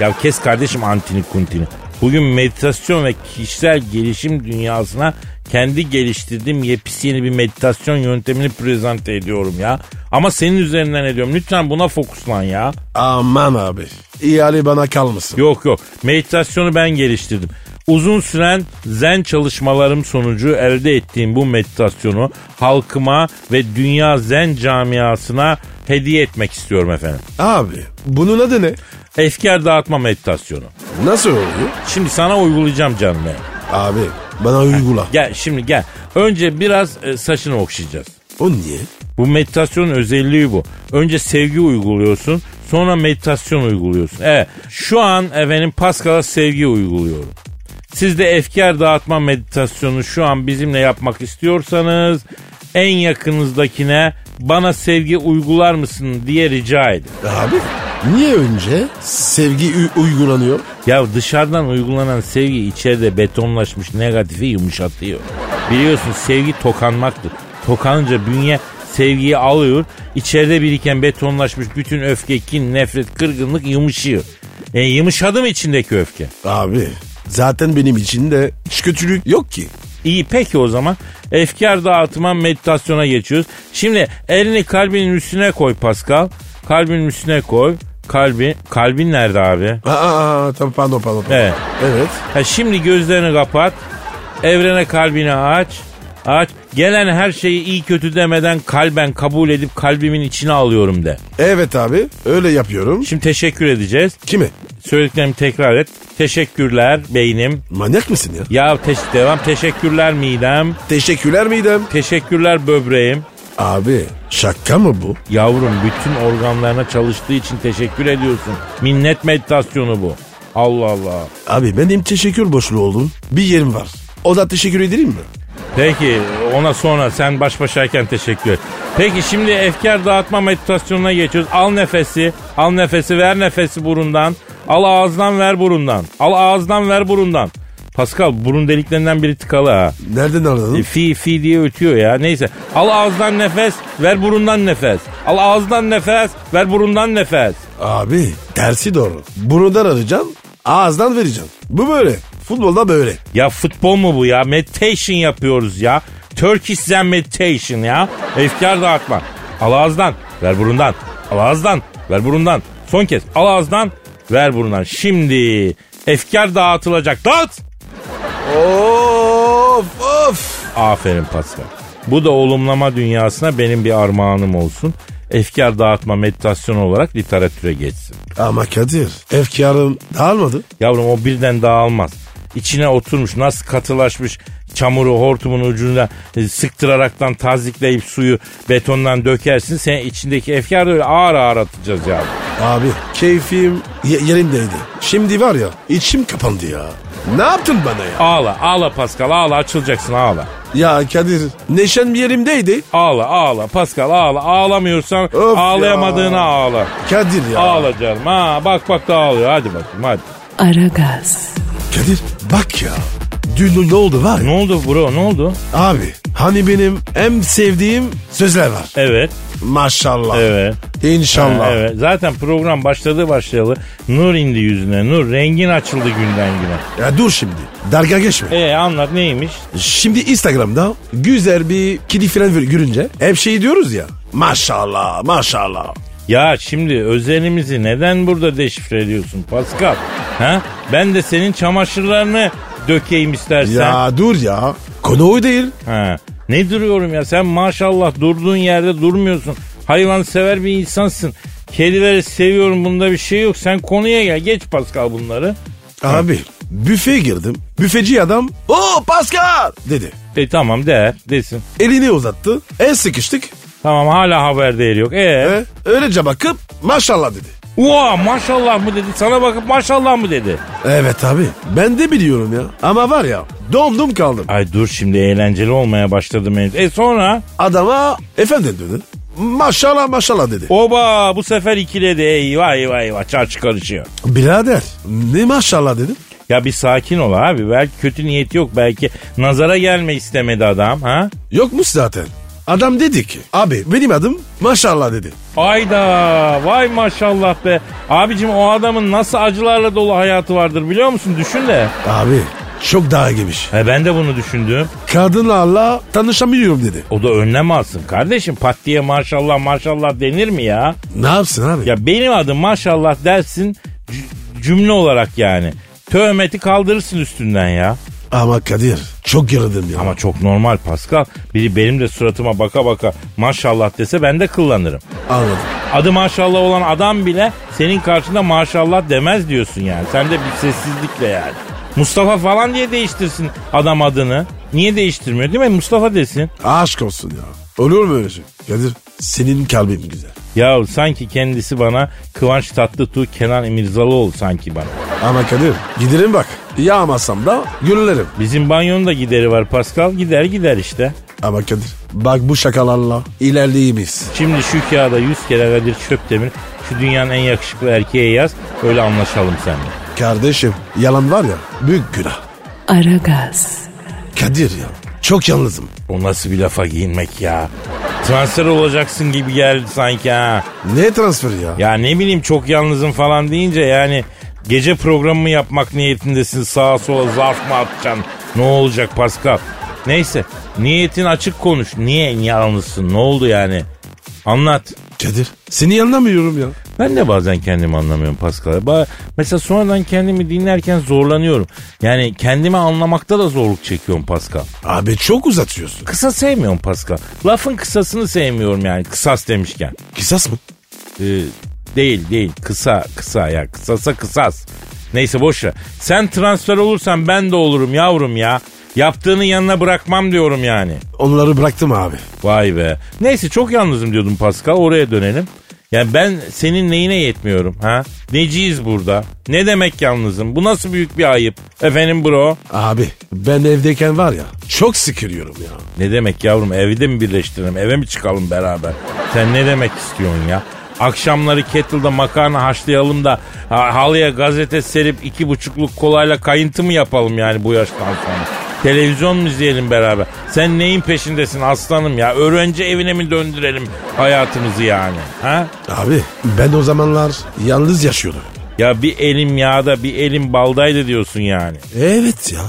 Ya kes kardeşim antini kuntini. Bugün meditasyon ve kişisel gelişim dünyasına kendi geliştirdiğim yepis yeni bir meditasyon yöntemini prezente ediyorum ya. Ama senin üzerinden ediyorum. Lütfen buna fokuslan ya.
Aman abi. İhale bana kalmasın.
Yok yok. Meditasyonu ben geliştirdim. Uzun süren zen çalışmalarım sonucu elde ettiğim bu meditasyonu halkıma ve dünya zen camiasına hediye etmek istiyorum efendim.
Abi bunun adı ne?
Efkar dağıtma meditasyonu.
Nasıl oluyor?
Şimdi sana uygulayacağım canım benim.
Abi bana uygula.
Gel şimdi gel. Önce biraz e, saçını okşayacağız.
O niye?
Bu meditasyonun özelliği bu. Önce sevgi uyguluyorsun. Sonra meditasyon uyguluyorsun. Evet. Şu an efendim Pascal'a sevgi uyguluyorum. Siz de efkar dağıtma meditasyonu şu an bizimle yapmak istiyorsanız en yakınızdakine bana sevgi uygular mısın diye rica edin.
Abi niye önce sevgi u- uygulanıyor?
Ya dışarıdan uygulanan sevgi içeride betonlaşmış negatifi yumuşatıyor. Biliyorsun sevgi tokanmaktır. Tokanınca bünye sevgiyi alıyor. İçeride biriken betonlaşmış bütün öfke, kin, nefret, kırgınlık yumuşuyor. E yumuşadı mı içindeki öfke?
Abi zaten benim içinde hiç kötülük yok ki.
İyi peki o zaman. Efkar dağıtıma meditasyona geçiyoruz. Şimdi elini kalbinin üstüne koy Pascal. Kalbinin üstüne koy. Kalbi, kalbin nerede abi?
Aa, aa, aa, tamam pardon pardon. pardon.
Evet.
Evet.
Ha şimdi gözlerini kapat. Evrene kalbini aç. Aç. Gelen her şeyi iyi kötü demeden kalben kabul edip kalbimin içine alıyorum de.
Evet abi öyle yapıyorum.
Şimdi teşekkür edeceğiz.
Kime?
Söylediklerimi tekrar et. Teşekkürler beynim.
Manyak mısın ya?
Ya te- devam. Teşekkürler midem.
Teşekkürler midem.
Teşekkürler böbreğim.
Abi şaka mı bu?
Yavrum bütün organlarına çalıştığı için teşekkür ediyorsun. Minnet meditasyonu bu. Allah Allah.
Abi benim teşekkür boşluğu oldum. Bir yerim var. O da teşekkür edeyim mi?
Peki ona sonra sen baş başayken teşekkür et. Peki şimdi efkar dağıtma meditasyonuna geçiyoruz. Al nefesi, al nefesi, ver nefesi burundan. Al ağızdan ver burundan. Al ağızdan ver burundan. Pascal burun deliklerinden biri tıkalı ha.
Nereden
E,
aradın?
Fi fi diye ötüyor ya neyse. Al ağızdan nefes, ver burundan nefes. Al ağızdan nefes, ver burundan nefes.
Abi tersi doğru. Burundan arayacaksın ağızdan vereceksin. Bu böyle. Futbolda böyle.
Ya futbol mu bu ya? Meditation yapıyoruz ya. Turkish Zen Meditation ya. Efkar dağıtma. Al ağızdan, ver burundan. Al ağızdan, ver burundan. Son kez al ağızdan, ver burundan. Şimdi efkar dağıtılacak. Dağıt!
Of of.
Aferin Pascal. Bu da olumlama dünyasına benim bir armağanım olsun. Efkar dağıtma meditasyonu olarak literatüre geçsin.
Ama Kadir efkarım dağılmadı.
Yavrum o birden dağılmaz. İçine oturmuş nasıl katılaşmış çamuru hortumun ucuna e, sıktıraraktan tazikleyip suyu betondan dökersin. Sen içindeki efkarı da öyle ağır ağır atacağız yavrum.
Abi keyfim ye- yerindeydi. Şimdi var ya içim kapandı ya. Ne yaptın bana ya?
Ağla ağla Pascal ağla açılacaksın ağla.
Ya Kadir neşen bir yerimdeydi.
Ağla ağla Pascal ağla ağlamıyorsan
ya.
ağlayamadığına ağla.
Kadir ya.
Ağla canım ha bak bak da ağlıyor hadi bakayım hadi.
Aragaz,
Kadir bak ya. Dün ne oldu var
Ne
ya?
oldu bro ne oldu?
Abi hani benim en sevdiğim sözler var.
Evet
Maşallah.
evet.
İnşallah.
Ha, evet. Zaten program başladı başlayalı nur indi yüzüne nur rengin açıldı günden güne.
Ya dur şimdi. Darga geçme.
E anlat neymiş?
Şimdi Instagram'da güzel bir kedi falan gör- görünce hep şey diyoruz ya. Maşallah maşallah.
Ya şimdi özelimizi neden burada deşifre ediyorsun Pascal? Ha? Ben de senin çamaşırlarını dökeyim istersen.
Ya dur ya. Konu o değil.
Ha. Ne duruyorum ya sen maşallah durduğun yerde durmuyorsun. Hayvan sever bir insansın. Kedileri seviyorum bunda bir şey yok. Sen konuya gel geç Pascal bunları.
Abi büfeye girdim. Büfeci adam o Pascal dedi.
E tamam değer desin.
Elini uzattı. El sıkıştık.
Tamam hala haber değeri yok. E,
E, öylece bakıp maşallah dedi.
Ua, maşallah mı dedi sana bakıp maşallah mı dedi.
Evet abi ben de biliyorum ya. Ama var ya dondum kaldım.
Ay dur şimdi eğlenceli olmaya başladı mevzu. E sonra?
Adama efendim dedi. Maşallah maşallah dedi.
Oba bu sefer ikiledi eyvah eyvah eyvah çarşı karışıyor.
Birader ne maşallah dedim.
Ya bir sakin ol abi belki kötü niyeti yok belki nazara gelme istemedi adam ha.
Yokmuş zaten. Adam dedi ki abi benim adım maşallah dedi.
Ayda vay maşallah be. Abicim o adamın nasıl acılarla dolu hayatı vardır biliyor musun düşün de.
Abi çok daha gibiymiş.
He ben de bunu düşündüm.
Kadınlarla tanışamıyorum dedi.
O da önlem alsın kardeşim pat diye maşallah maşallah denir mi ya?
Ne yapsın abi?
Ya benim adım maşallah dersin c- cümle olarak yani. Tövmeti kaldırırsın üstünden ya.
Ama Kadir çok yarıldım ya.
Ama çok normal Pascal. Biri benim de suratıma baka baka maşallah dese ben de kullanırım.
Anladım.
Adı maşallah olan adam bile senin karşında maşallah demez diyorsun yani. Sen de bir sessizlikle yani. Mustafa falan diye değiştirsin adam adını. Niye değiştirmiyor değil mi? Mustafa desin.
Aşk olsun ya. Olur mu öyle şey? Kadir senin kalbin güzel.
Ya sanki kendisi bana Kıvanç Tatlıtuğ Kenan İmirzalıoğlu sanki bana.
Ama Kadir giderim bak. Yağmasam da güllerim.
Bizim banyonun da gideri var Pascal. Gider gider işte.
Ama Kadir bak bu şakalarla ilerleyimiz.
Şimdi şu kağıda 100 kere Kadir Çöptemir şu dünyanın en yakışıklı erkeği yaz. Öyle anlaşalım seninle.
Kardeşim yalan var ya büyük günah.
Aragaz,
Kadir ya çok yalnızım.
O nasıl bir lafa giyinmek ya? Transfer olacaksın gibi geldi sanki ha.
Ne transferi ya?
Ya ne bileyim çok yalnızım falan deyince yani gece programı yapmak niyetindesin sağa sola zarf mı atacaksın? Ne olacak Pascal? Neyse niyetin açık konuş. Niye yalnızsın? Ne oldu yani? Anlat.
Kadir seni anlamıyorum ya.
Ben de bazen kendimi anlamıyorum Pascal. Ba- mesela sonradan kendimi dinlerken zorlanıyorum. Yani kendimi anlamakta da zorluk çekiyorum Pascal.
Abi çok uzatıyorsun.
Kısa sevmiyorum Pascal. Lafın kısasını sevmiyorum yani kısas demişken.
Kısas mı?
Ee, değil değil kısa kısa ya kısasa kısas. Neyse boş ver. Sen transfer olursan ben de olurum yavrum ya. Yaptığını yanına bırakmam diyorum yani.
Onları bıraktım abi.
Vay be. Neyse çok yalnızım diyordum Pascal. Oraya dönelim. Ya ben senin neyine yetmiyorum ha? Neciyiz burada? Ne demek yalnızım? Bu nasıl büyük bir ayıp? Efendim bro?
Abi ben evdeyken var ya çok sıkılıyorum ya.
Ne demek yavrum evde mi birleştirelim eve mi çıkalım beraber? Sen ne demek istiyorsun ya? Akşamları kettle'da makarna haşlayalım da ha- halıya gazete serip iki buçukluk kolayla kayıntı mı yapalım yani bu yaştan sonra? Televizyon mu izleyelim beraber? Sen neyin peşindesin aslanım ya? Öğrenci evine mi döndürelim hayatımızı yani? Ha?
Abi ben o zamanlar yalnız yaşıyordum.
Ya bir elim yağda bir elim baldaydı diyorsun yani.
Evet ya.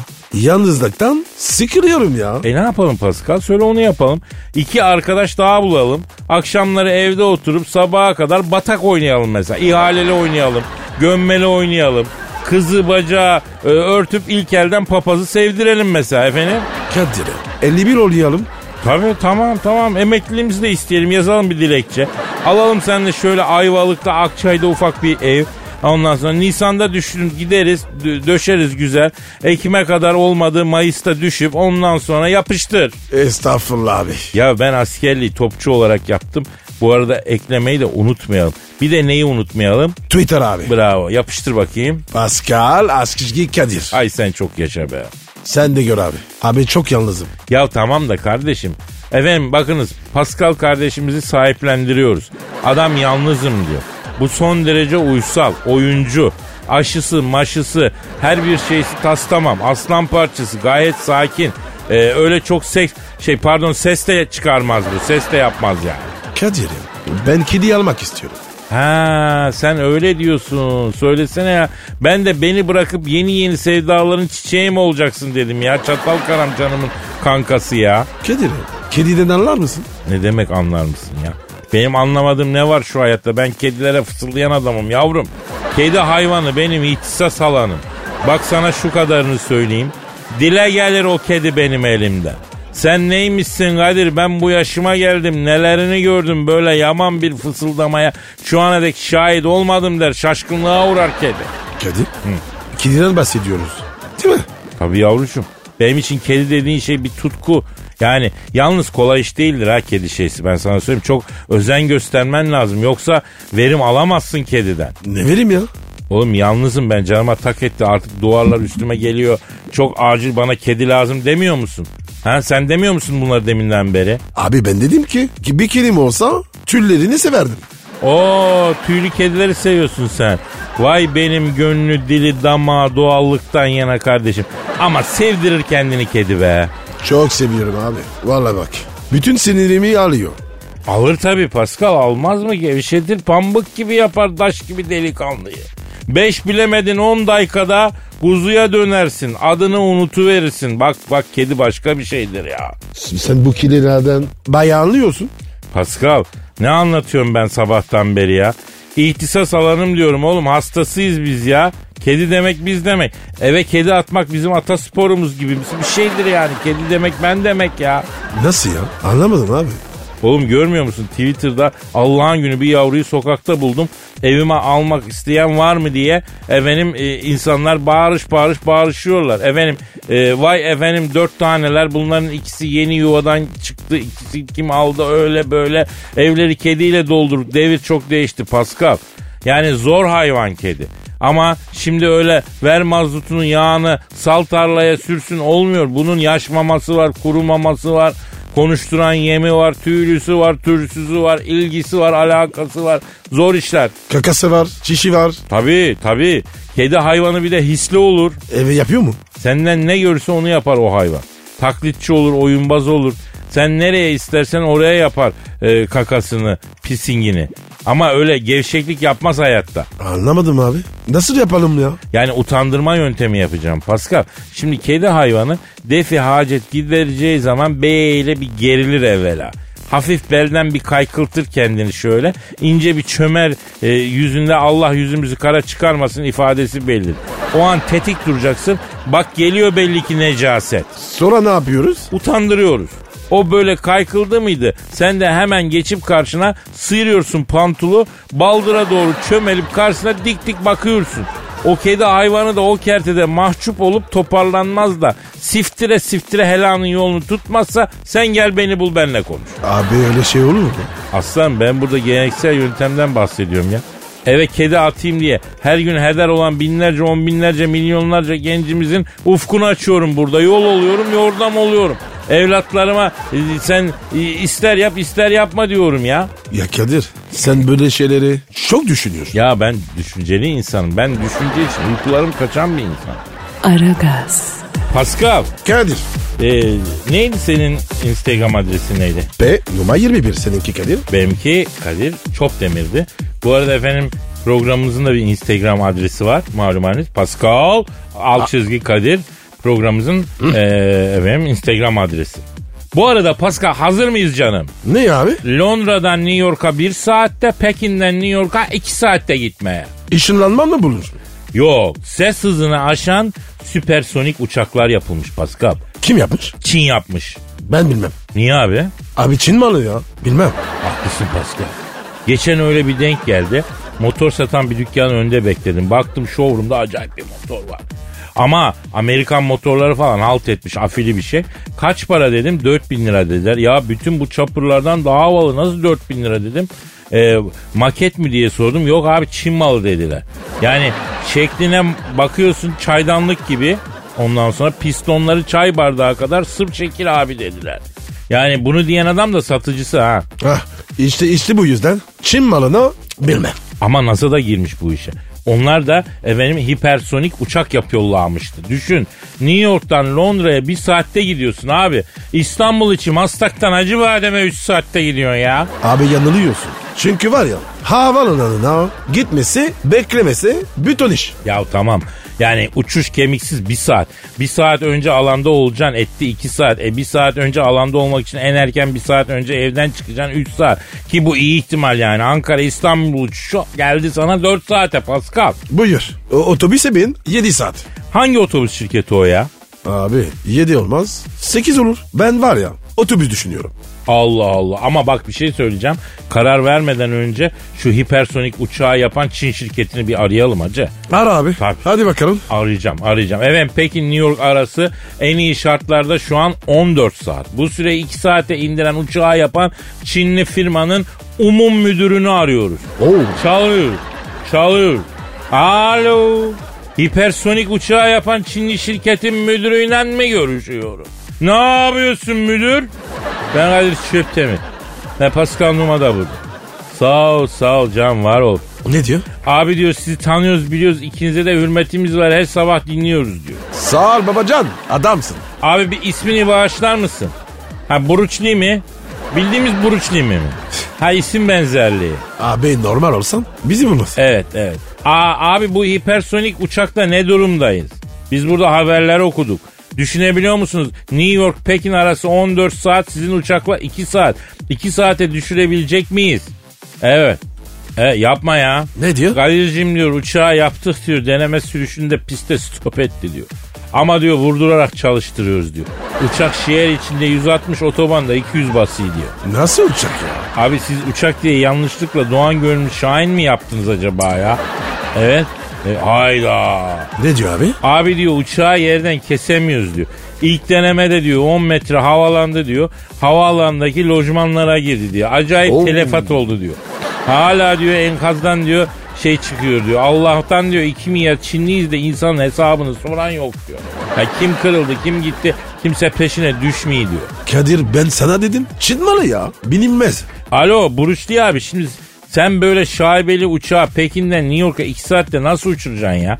Yalnızlıktan sıkılıyorum ya.
E ne yapalım Pascal? Söyle onu yapalım. İki arkadaş daha bulalım. Akşamları evde oturup sabaha kadar batak oynayalım mesela. İhaleli oynayalım. Gömmeli oynayalım. Kızı bacağı e, örtüp ilk elden papazı sevdirelim mesela efendim.
Kadir'e 51 olayalım.
Tabii tamam tamam emekliliğimizi de isteyelim yazalım bir dilekçe. Alalım seninle şöyle Ayvalık'ta Akçay'da ufak bir ev. Ondan sonra Nisan'da düşünüp gideriz dö- döşeriz güzel. Ekim'e kadar olmadı Mayıs'ta düşüp ondan sonra yapıştır.
Estağfurullah abi.
Ya ben askerliği topçu olarak yaptım. Bu arada eklemeyi de unutmayalım. Bir de neyi unutmayalım?
Twitter abi.
Bravo. Yapıştır bakayım.
Pascal Askizgi Kadir.
Ay sen çok yaşa be.
Sen de gör abi. Abi çok yalnızım.
Ya tamam da kardeşim. Efendim bakınız Pascal kardeşimizi sahiplendiriyoruz. Adam yalnızım diyor. Bu son derece uysal, oyuncu. Aşısı, maşısı, her bir şeysi tas tamam. Aslan parçası, gayet sakin. Ee, öyle çok seks, şey pardon ses de çıkarmaz bu. Ses de yapmaz yani.
Kadir'im ben kedi almak istiyorum.
Ha sen öyle diyorsun. Söylesene ya. Ben de beni bırakıp yeni yeni sevdaların çiçeği mi olacaksın dedim ya. Çatal karam canımın kankası ya.
Kadir'im kediden anlar mısın?
Ne demek anlar mısın ya? Benim anlamadığım ne var şu hayatta? Ben kedilere fısıldayan adamım yavrum. Kedi hayvanı benim ihtisas alanım. Bak sana şu kadarını söyleyeyim. Dile gelir o kedi benim elimde. Sen neymişsin Kadir ben bu yaşıma geldim nelerini gördüm böyle yaman bir fısıldamaya şu ana dek şahit olmadım der şaşkınlığa uğrar kedi.
Kadir? Kediden bahsediyoruz. Değil mi?
Tabii yavrucuğum. Benim için kedi dediğin şey bir tutku. Yani yalnız kolay iş değildir ha kedi şeysi ben sana söyleyeyim. Çok özen göstermen lazım yoksa verim alamazsın kediden.
Ne vereyim ya?
Oğlum yalnızım ben canıma tak etti artık duvarlar üstüme geliyor. Çok acil bana kedi lazım demiyor musun? Ha sen demiyor musun bunları deminden beri?
Abi ben dedim ki ki bir kedim olsa tüllerini severdim.
Oo tüylü kedileri seviyorsun sen. Vay benim gönlü dili damağı doğallıktan yana kardeşim. Ama sevdirir kendini kedi be.
Çok seviyorum abi. Vallahi bak. Bütün sinirimi alıyor.
Alır tabii Pascal almaz mı gevşetir pambık gibi yapar daş gibi delikanlıyı. Beş bilemedin on dakikada kuzuya dönersin adını unutuverirsin. Bak bak kedi başka bir şeydir ya.
Sen bu kedilerden bayağı anlıyorsun.
Pascal ne anlatıyorum ben sabahtan beri ya? İhtisas alanım diyorum oğlum hastasıyız biz ya. Kedi demek biz demek. Eve kedi atmak bizim atasporumuz gibi bir şeydir yani. Kedi demek ben demek ya.
Nasıl ya? Anlamadım abi.
Oğlum görmüyor musun Twitter'da Allah'ın günü bir yavruyu sokakta buldum. Evime almak isteyen var mı diye efendim e, insanlar bağırış bağırış bağırışıyorlar. Efendim e, vay efendim dört taneler bunların ikisi yeni yuvadan çıktı. ikisi kim aldı öyle böyle evleri kediyle doldurduk. Devir çok değişti Pascal. Yani zor hayvan kedi. Ama şimdi öyle ver mazutunun yağını sal tarlaya sürsün olmuyor. Bunun yaş maması var, kuru maması var. Konuşturan yemi var, tüylüsü var, türsüzü var, ilgisi var, alakası var. Zor işler.
Kakası var, çişi var.
Tabii tabii. Kedi hayvanı bir de hisli olur.
Eve yapıyor mu?
Senden ne görse onu yapar o hayvan. Taklitçi olur, oyunbaz olur. Sen nereye istersen oraya yapar e, kakasını, pisingini. Ama öyle gevşeklik yapmaz hayatta.
Anlamadım abi. Nasıl yapalım ya?
Yani utandırma yöntemi yapacağım Pascal. Şimdi kedi hayvanı defi hacet gidereceği zaman böyle bir gerilir evvela. Hafif belden bir kaykıltır kendini şöyle. ince bir çömer e, yüzünde Allah yüzümüzü kara çıkarmasın ifadesi belli. O an tetik duracaksın. Bak geliyor belli ki necaset.
Sonra ne yapıyoruz?
Utandırıyoruz. O böyle kaykıldı mıydı? Sen de hemen geçip karşına sıyırıyorsun pantulu. Baldıra doğru çömelip karşısına dik dik bakıyorsun. O kedi hayvanı da o kertede mahcup olup toparlanmaz da siftire siftire helanın yolunu tutmazsa sen gel beni bul benle konuş.
Abi öyle şey olur mu?
Aslan ben burada geleneksel yöntemden bahsediyorum ya. Eve kedi atayım diye her gün heder olan binlerce, on binlerce, milyonlarca gencimizin ufkunu açıyorum burada. Yol oluyorum, yordam oluyorum. Evlatlarıma e, sen e, ister yap ister yapma diyorum ya.
Ya Kadir sen böyle şeyleri çok düşünüyorsun.
Ya ben düşünceli insanım. Ben düşünce için uykularım kaçan bir insan.
Aragaz.
Pascal,
Kadir.
e, neydi senin Instagram adresin neydi?
P numara 21 seninki Kadir.
Benimki Kadir Çopdemir'di. Bu arada efendim programımızın da bir Instagram adresi var. Malum haliniz Pascal alt çizgi Kadir programımızın e, efendim Instagram adresi. Bu arada Pascal hazır mıyız canım?
Ne abi?
Londra'dan New York'a bir saatte, Pekin'den New York'a iki saatte gitmeye.
Işınlanma mı bulur?
Yok, ses hızını aşan süpersonik uçaklar yapılmış Pascal.
Kim yapmış?
Çin yapmış.
Ben bilmem.
Niye abi?
Abi Çin malı ya. Bilmem.
Haklısın Pascal. Geçen öyle bir denk geldi. Motor satan bir dükkanın önünde bekledim. Baktım showroom'da acayip bir motor var. Ama Amerikan motorları falan halt etmiş afili bir şey. Kaç para dedim 4000 lira dediler. Ya bütün bu çapurlardan daha havalı nasıl 4000 lira dedim. Ee, maket mi diye sordum. Yok abi Çin malı dediler. Yani şekline bakıyorsun çaydanlık gibi. Ondan sonra pistonları çay bardağı kadar sırf şekil abi dediler. Yani bunu diyen adam da satıcısı ha.
Hah, Ah, işte, işte bu yüzden Çin malını bilmem.
Ama NASA da girmiş bu işe. Onlar da efendim hipersonik uçak yapıyorlarmıştı. Düşün New York'tan Londra'ya bir saatte gidiyorsun abi. İstanbul için Maslak'tan Hacıbadem'e 3 saatte gidiyorsun ya.
Abi yanılıyorsun. Çünkü var ya havaalanına gitmesi, beklemesi bütün iş.
Ya tamam yani uçuş kemiksiz bir saat. Bir saat önce alanda olacaksın etti iki saat. E bir saat önce alanda olmak için en erken bir saat önce evden çıkacaksın 3 saat. Ki bu iyi ihtimal yani Ankara İstanbul uçuşu geldi sana 4 saate Pascal.
Buyur. O, otobüse bin 7 saat.
Hangi otobüs şirketi o ya?
Abi 7 olmaz 8 olur. Ben var ya otobüs düşünüyorum.
Allah Allah. Ama bak bir şey söyleyeceğim. Karar vermeden önce şu hipersonik uçağı yapan Çin şirketini bir arayalım hacı.
Ara abi.
Tabii.
Hadi bakalım.
Arayacağım arayacağım. Evet Pekin New York arası en iyi şartlarda şu an 14 saat. Bu süre 2 saate indiren uçağı yapan Çinli firmanın umum müdürünü arıyoruz.
Oo.
Çalıyor. Çalıyor. Alo. Hipersonik uçağı yapan Çinli şirketin müdürüyle mi görüşüyorum? Ne yapıyorsun müdür? Ben Kadir Çöptemir. Ne Pascal Numa da burada. Sağ ol sağ ol can var ol.
Ne diyor?
Abi diyor sizi tanıyoruz biliyoruz ikinize de hürmetimiz var her sabah dinliyoruz diyor.
Sağ ol babacan adamsın.
Abi bir ismini bağışlar mısın? Ha Buruçli mi? Bildiğimiz Buruçli mi? Ha isim benzerliği.
Abi normal olsan bizi bulmaz.
Evet evet. Aa, abi bu hipersonik uçakta ne durumdayız? Biz burada haberler okuduk. Düşünebiliyor musunuz? New York Pekin arası 14 saat sizin uçakla 2 saat. 2 saate düşürebilecek miyiz? Evet. E, yapma ya.
Ne diyor?
Kadir'cim diyor uçağı yaptık diyor. Deneme sürüşünde piste stop etti diyor. Ama diyor vurdurarak çalıştırıyoruz diyor. Uçak şehir içinde 160 otobanda 200 basıyor diyor.
Nasıl uçak ya?
Abi siz uçak diye yanlışlıkla Doğan Gölü'nü Şahin mi yaptınız acaba ya? Evet. E, hayda.
Ne diyor abi?
Abi diyor uçağı yerden kesemiyoruz diyor. İlk denemede diyor 10 metre havalandı diyor. Havaalanındaki lojmanlara girdi diyor. Acayip
Oo.
telefat oldu diyor. Hala diyor enkazdan diyor şey çıkıyor diyor. Allah'tan diyor 2 milyar Çinliyiz de insanın hesabını soran yok diyor. Ya kim kırıldı kim gitti kimse peşine düşmeyi diyor.
Kadir ben sana dedim Çin malı ya bilinmez.
Alo Buruşlu abi şimdi sen böyle şaibeli uçağı Pekin'den New York'a 2 saatte nasıl uçuracaksın ya?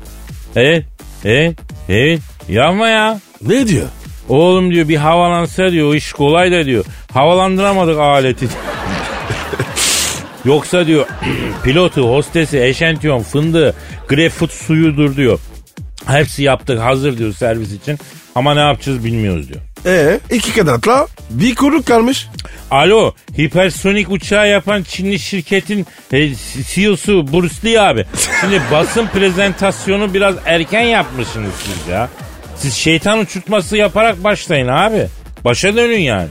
E, Evet, evet, evet. Yapma ya.
Ne diyor?
Oğlum diyor bir havalansa diyor o iş kolay da diyor. Havalandıramadık aleti. Yoksa diyor pilotu, hostesi, eşentiyon, fındığı, greyfurt suyudur diyor. Hepsi yaptık hazır diyor servis için. Ama ne yapacağız bilmiyoruz diyor.
E iki kanatla bir kuyruk kalmış.
Alo, hipersonik uçağı yapan Çinli şirketin e, CEO'su Bruce Lee abi. Şimdi basın prezentasyonu biraz erken yapmışsınız siz ya. Siz şeytan uçurtması yaparak başlayın abi. Başa dönün yani.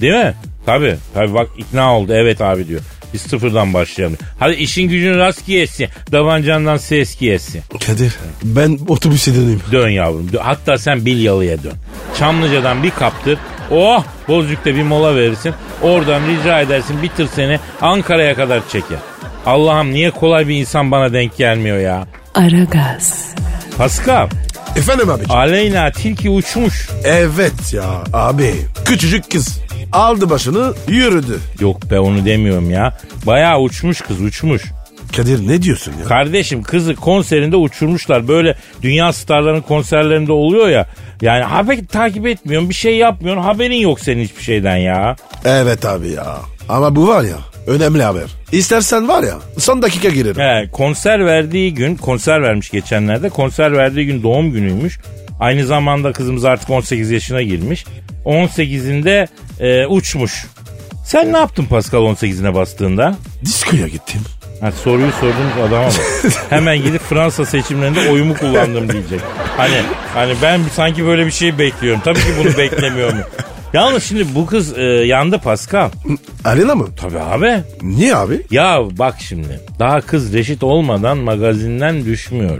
Değil mi? Tabii, tabii bak ikna oldu evet abi diyor. Biz sıfırdan başlayalım. Hadi işin gücün rast giyesi. Davancandan ses giyesi.
Kadir ben otobüse döneyim.
Dön yavrum. dön. Hatta sen Bilyalı'ya dön. Çamlıca'dan bir kaptır. Oh! Bozcuk'ta bir mola verirsin. Oradan rica edersin bitir seni. Ankara'ya kadar çeker. Allah'ım niye kolay bir insan bana denk gelmiyor ya.
Aragaz,
Pascal,
Efendim abi.
Aleyna Tilki uçmuş.
Evet ya abi. Küçücük kız. Aldı başını yürüdü.
Yok be onu demiyorum ya. Bayağı uçmuş kız uçmuş.
Kadir ne diyorsun ya?
Kardeşim kızı konserinde uçurmuşlar. Böyle dünya starlarının konserlerinde oluyor ya. Yani haber takip etmiyorsun, bir şey yapmıyorsun. Haberin yok senin hiçbir şeyden ya.
Evet abi ya. Ama bu var ya önemli haber. İstersen var ya son dakika girerim.
He, konser verdiği gün, konser vermiş geçenlerde. Konser verdiği gün doğum günüymüş. Aynı zamanda kızımız artık 18 yaşına girmiş. 18'inde e, uçmuş. Sen ne yaptın Pascal 18'ine bastığında?
Diskoya gittim.
Ha, soruyu sorduğunuz adama bak. Hemen gidip Fransa seçimlerinde oyumu kullandım diyecek. Hani hani ben sanki böyle bir şey bekliyorum. Tabii ki bunu beklemiyorum. Yalnız şimdi bu kız e, yandı Pascal.
Arena mı?
Tabii abi.
Niye abi?
Ya bak şimdi daha kız reşit olmadan magazinden düşmüyor.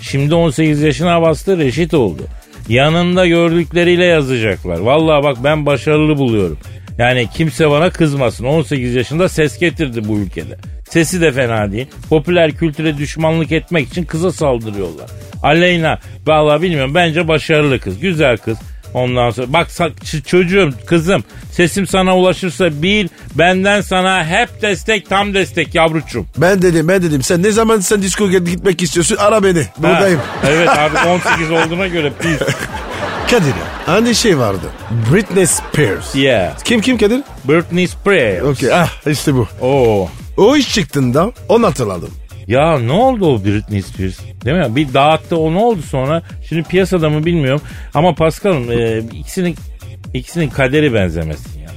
Şimdi 18 yaşına bastı reşit oldu. Yanında gördükleriyle yazacaklar. Vallahi bak ben başarılı buluyorum. Yani kimse bana kızmasın. 18 yaşında ses getirdi bu ülkede. Sesi de fena değil. Popüler kültüre düşmanlık etmek için kıza saldırıyorlar. Aleyna vallahi bilmiyorum bence başarılı kız. Güzel kız. Ondan sonra bak sa- ç- çocuğum kızım sesim sana ulaşırsa bil benden sana hep destek tam destek yavrucuğum.
Ben dedim ben dedim sen ne zaman sen diskoya gitmek istiyorsun ara beni. Buradayım.
Ha, evet artık 18 olduğuna göre pis.
Kadir ya. Hani şey vardı. Britney Spears.
Yeah.
Kim kim Kadir?
Britney Spears.
Okey ah işte bu.
Oo.
O iş çıktığında onu hatırladım.
Ya ne oldu o Britney Spears? Değil mi? Bir dağıttı o ne oldu sonra? Şimdi piyasada mı bilmiyorum. Ama Pascal'ım e, ikisinin ikisinin kaderi benzemesin ya.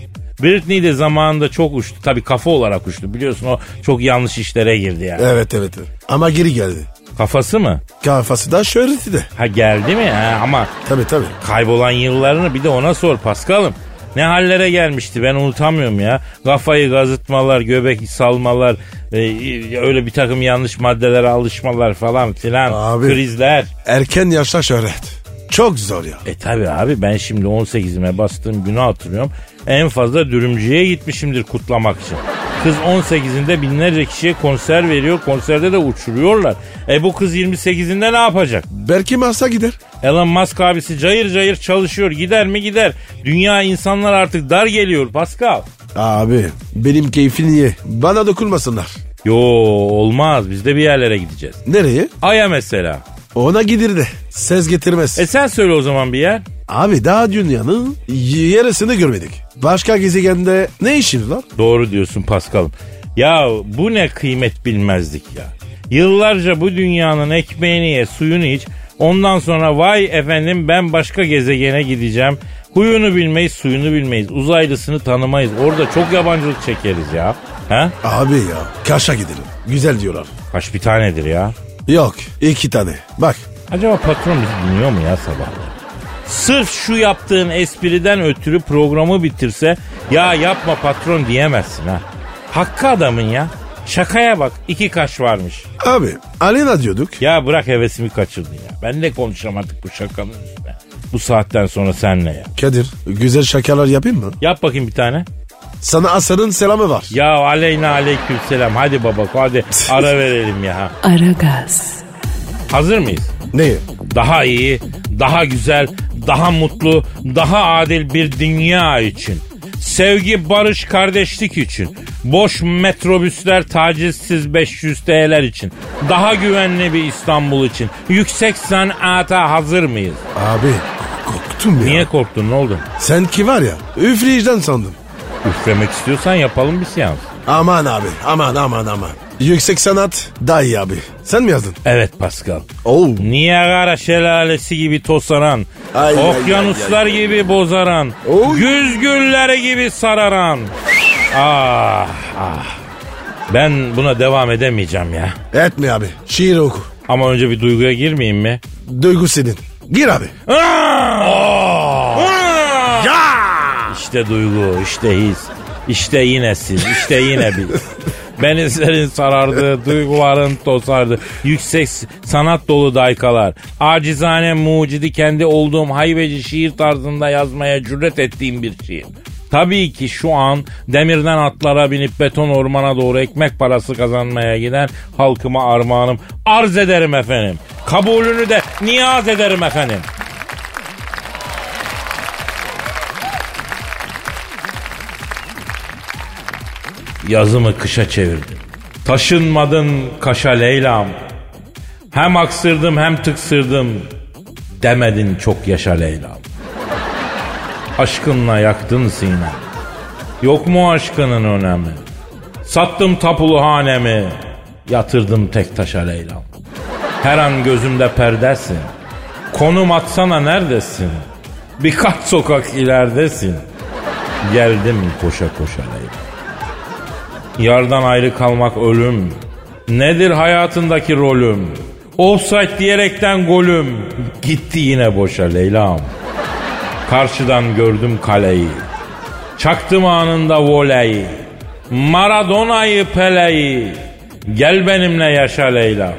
Britney de zamanında çok uçtu. Tabii kafa olarak uçtu. Biliyorsun o çok yanlış işlere girdi yani.
Evet evet. evet. Ama geri geldi.
Kafası mı?
Kafası da şöhreti de.
Ha geldi mi? Ha, ama
Tabii tabii.
kaybolan yıllarını bir de ona sor Paskal'ım. Ne hallere gelmişti ben unutamıyorum ya. Kafayı gazıtmalar, göbek salmalar, e, e, öyle bir takım yanlış maddelere alışmalar falan filan.
Abi.
Krizler.
Erken yaşta şöhret. Çok zor ya.
E tabi abi ben şimdi 18'ime bastığım günü hatırlıyorum. En fazla dürümcüye gitmişimdir kutlamak için. Kız 18'inde binlerce kişiye konser veriyor. Konserde de uçuruyorlar. E bu kız 28'inde ne yapacak?
Belki Mars'a gider.
Elon Musk abisi cayır cayır çalışıyor. Gider mi gider. Dünya insanlar artık dar geliyor Pascal.
Abi benim keyfini ye. Bana dokunmasınlar.
Yo olmaz biz de bir yerlere gideceğiz.
Nereye?
Ay'a mesela.
Ona gidir de. Ses getirmez.
E sen söyle o zaman bir yer.
Abi daha dünyanın y- yarısını görmedik. Başka gezegende ne işimiz var?
Doğru diyorsun Pascal'ım. Ya bu ne kıymet bilmezlik ya. Yıllarca bu dünyanın ekmeğini ye suyunu iç. Ondan sonra vay efendim ben başka gezegene gideceğim. Huyunu bilmeyiz suyunu bilmeyiz. Uzaylısını tanımayız. Orada çok yabancılık çekeriz ya. He?
Abi ya Kaş'a gidelim. Güzel diyorlar.
Kaç bir tanedir ya.
Yok iki tane. Bak
Acaba patron bizi dinliyor mu ya sabahları? Sırf şu yaptığın espriden ötürü programı bitirse ya yapma patron diyemezsin ha. Hakkı adamın ya. Şakaya bak iki kaş varmış.
abi Alena diyorduk.
Ya bırak hevesimi kaçırdın ya. Ben de konuşacağım artık bu şakanın üstüne. Bu saatten sonra senle ya.
Kadir güzel şakalar yapayım mı?
Yap bakayım bir tane.
Sana Asar'ın selamı var.
Ya aleyna aleyküm selam. Hadi baba hadi ara verelim ya.
Aragaz,
Hazır mıyız?
Ne?
daha iyi, daha güzel, daha mutlu, daha adil bir dünya için. Sevgi, barış, kardeşlik için. Boş metrobüsler, tacizsiz 500 TL'ler için. Daha güvenli bir İstanbul için. Yüksek sanata hazır mıyız?
Abi korktum ya.
Niye korktun ne oldu?
Sen ki var ya üfleyiciden sandım.
Üflemek istiyorsan yapalım bir seans.
Aman abi aman aman aman. Yüksek sanat daha iyi abi. Sen mi yazdın?
Evet Pascal.
Oo.
Niagara şelalesi gibi tosaran,
Ay, ay,
okyanuslar gibi bozaran,
Oy.
güz gülleri gibi sararan. ah, ah. Ben buna devam edemeyeceğim ya.
Etme abi. Şiir oku.
Ama önce bir duyguya girmeyeyim mi?
Duygu senin. Gir abi.
Ah! Ah! İşte duygu, işte his. İşte yine siz, işte yine biz. Benizlerin sarardı, duyguların tosardı. Yüksek s- sanat dolu daykalar. Acizane mucidi kendi olduğum haybeci şiir tarzında yazmaya cüret ettiğim bir şiir. Tabii ki şu an demirden atlara binip beton ormana doğru ekmek parası kazanmaya giden halkıma armağanım. Arz ederim efendim. Kabulünü de niyaz ederim efendim. Yazımı kışa çevirdim. Taşınmadın kaşa Leyla'm. Hem aksırdım hem tıksırdım. Demedin çok yaşa Leyla'm. Aşkınla yaktın sinem. Yok mu aşkının önemi? Sattım tapulu hanemi. Yatırdım tek taşa Leyla'm. Her an gözümde perdesin. Konum atsana neredesin? Birkaç sokak ileridesin. Geldim koşa koşa Leyla. Yardan ayrı kalmak ölüm. Nedir hayatındaki rolüm? Offside diyerekten golüm. Gitti yine boşa Leyla'm. Karşıdan gördüm kaleyi. Çaktım anında voleyi. Maradona'yı Pele'yi. Gel benimle yaşa Leyla.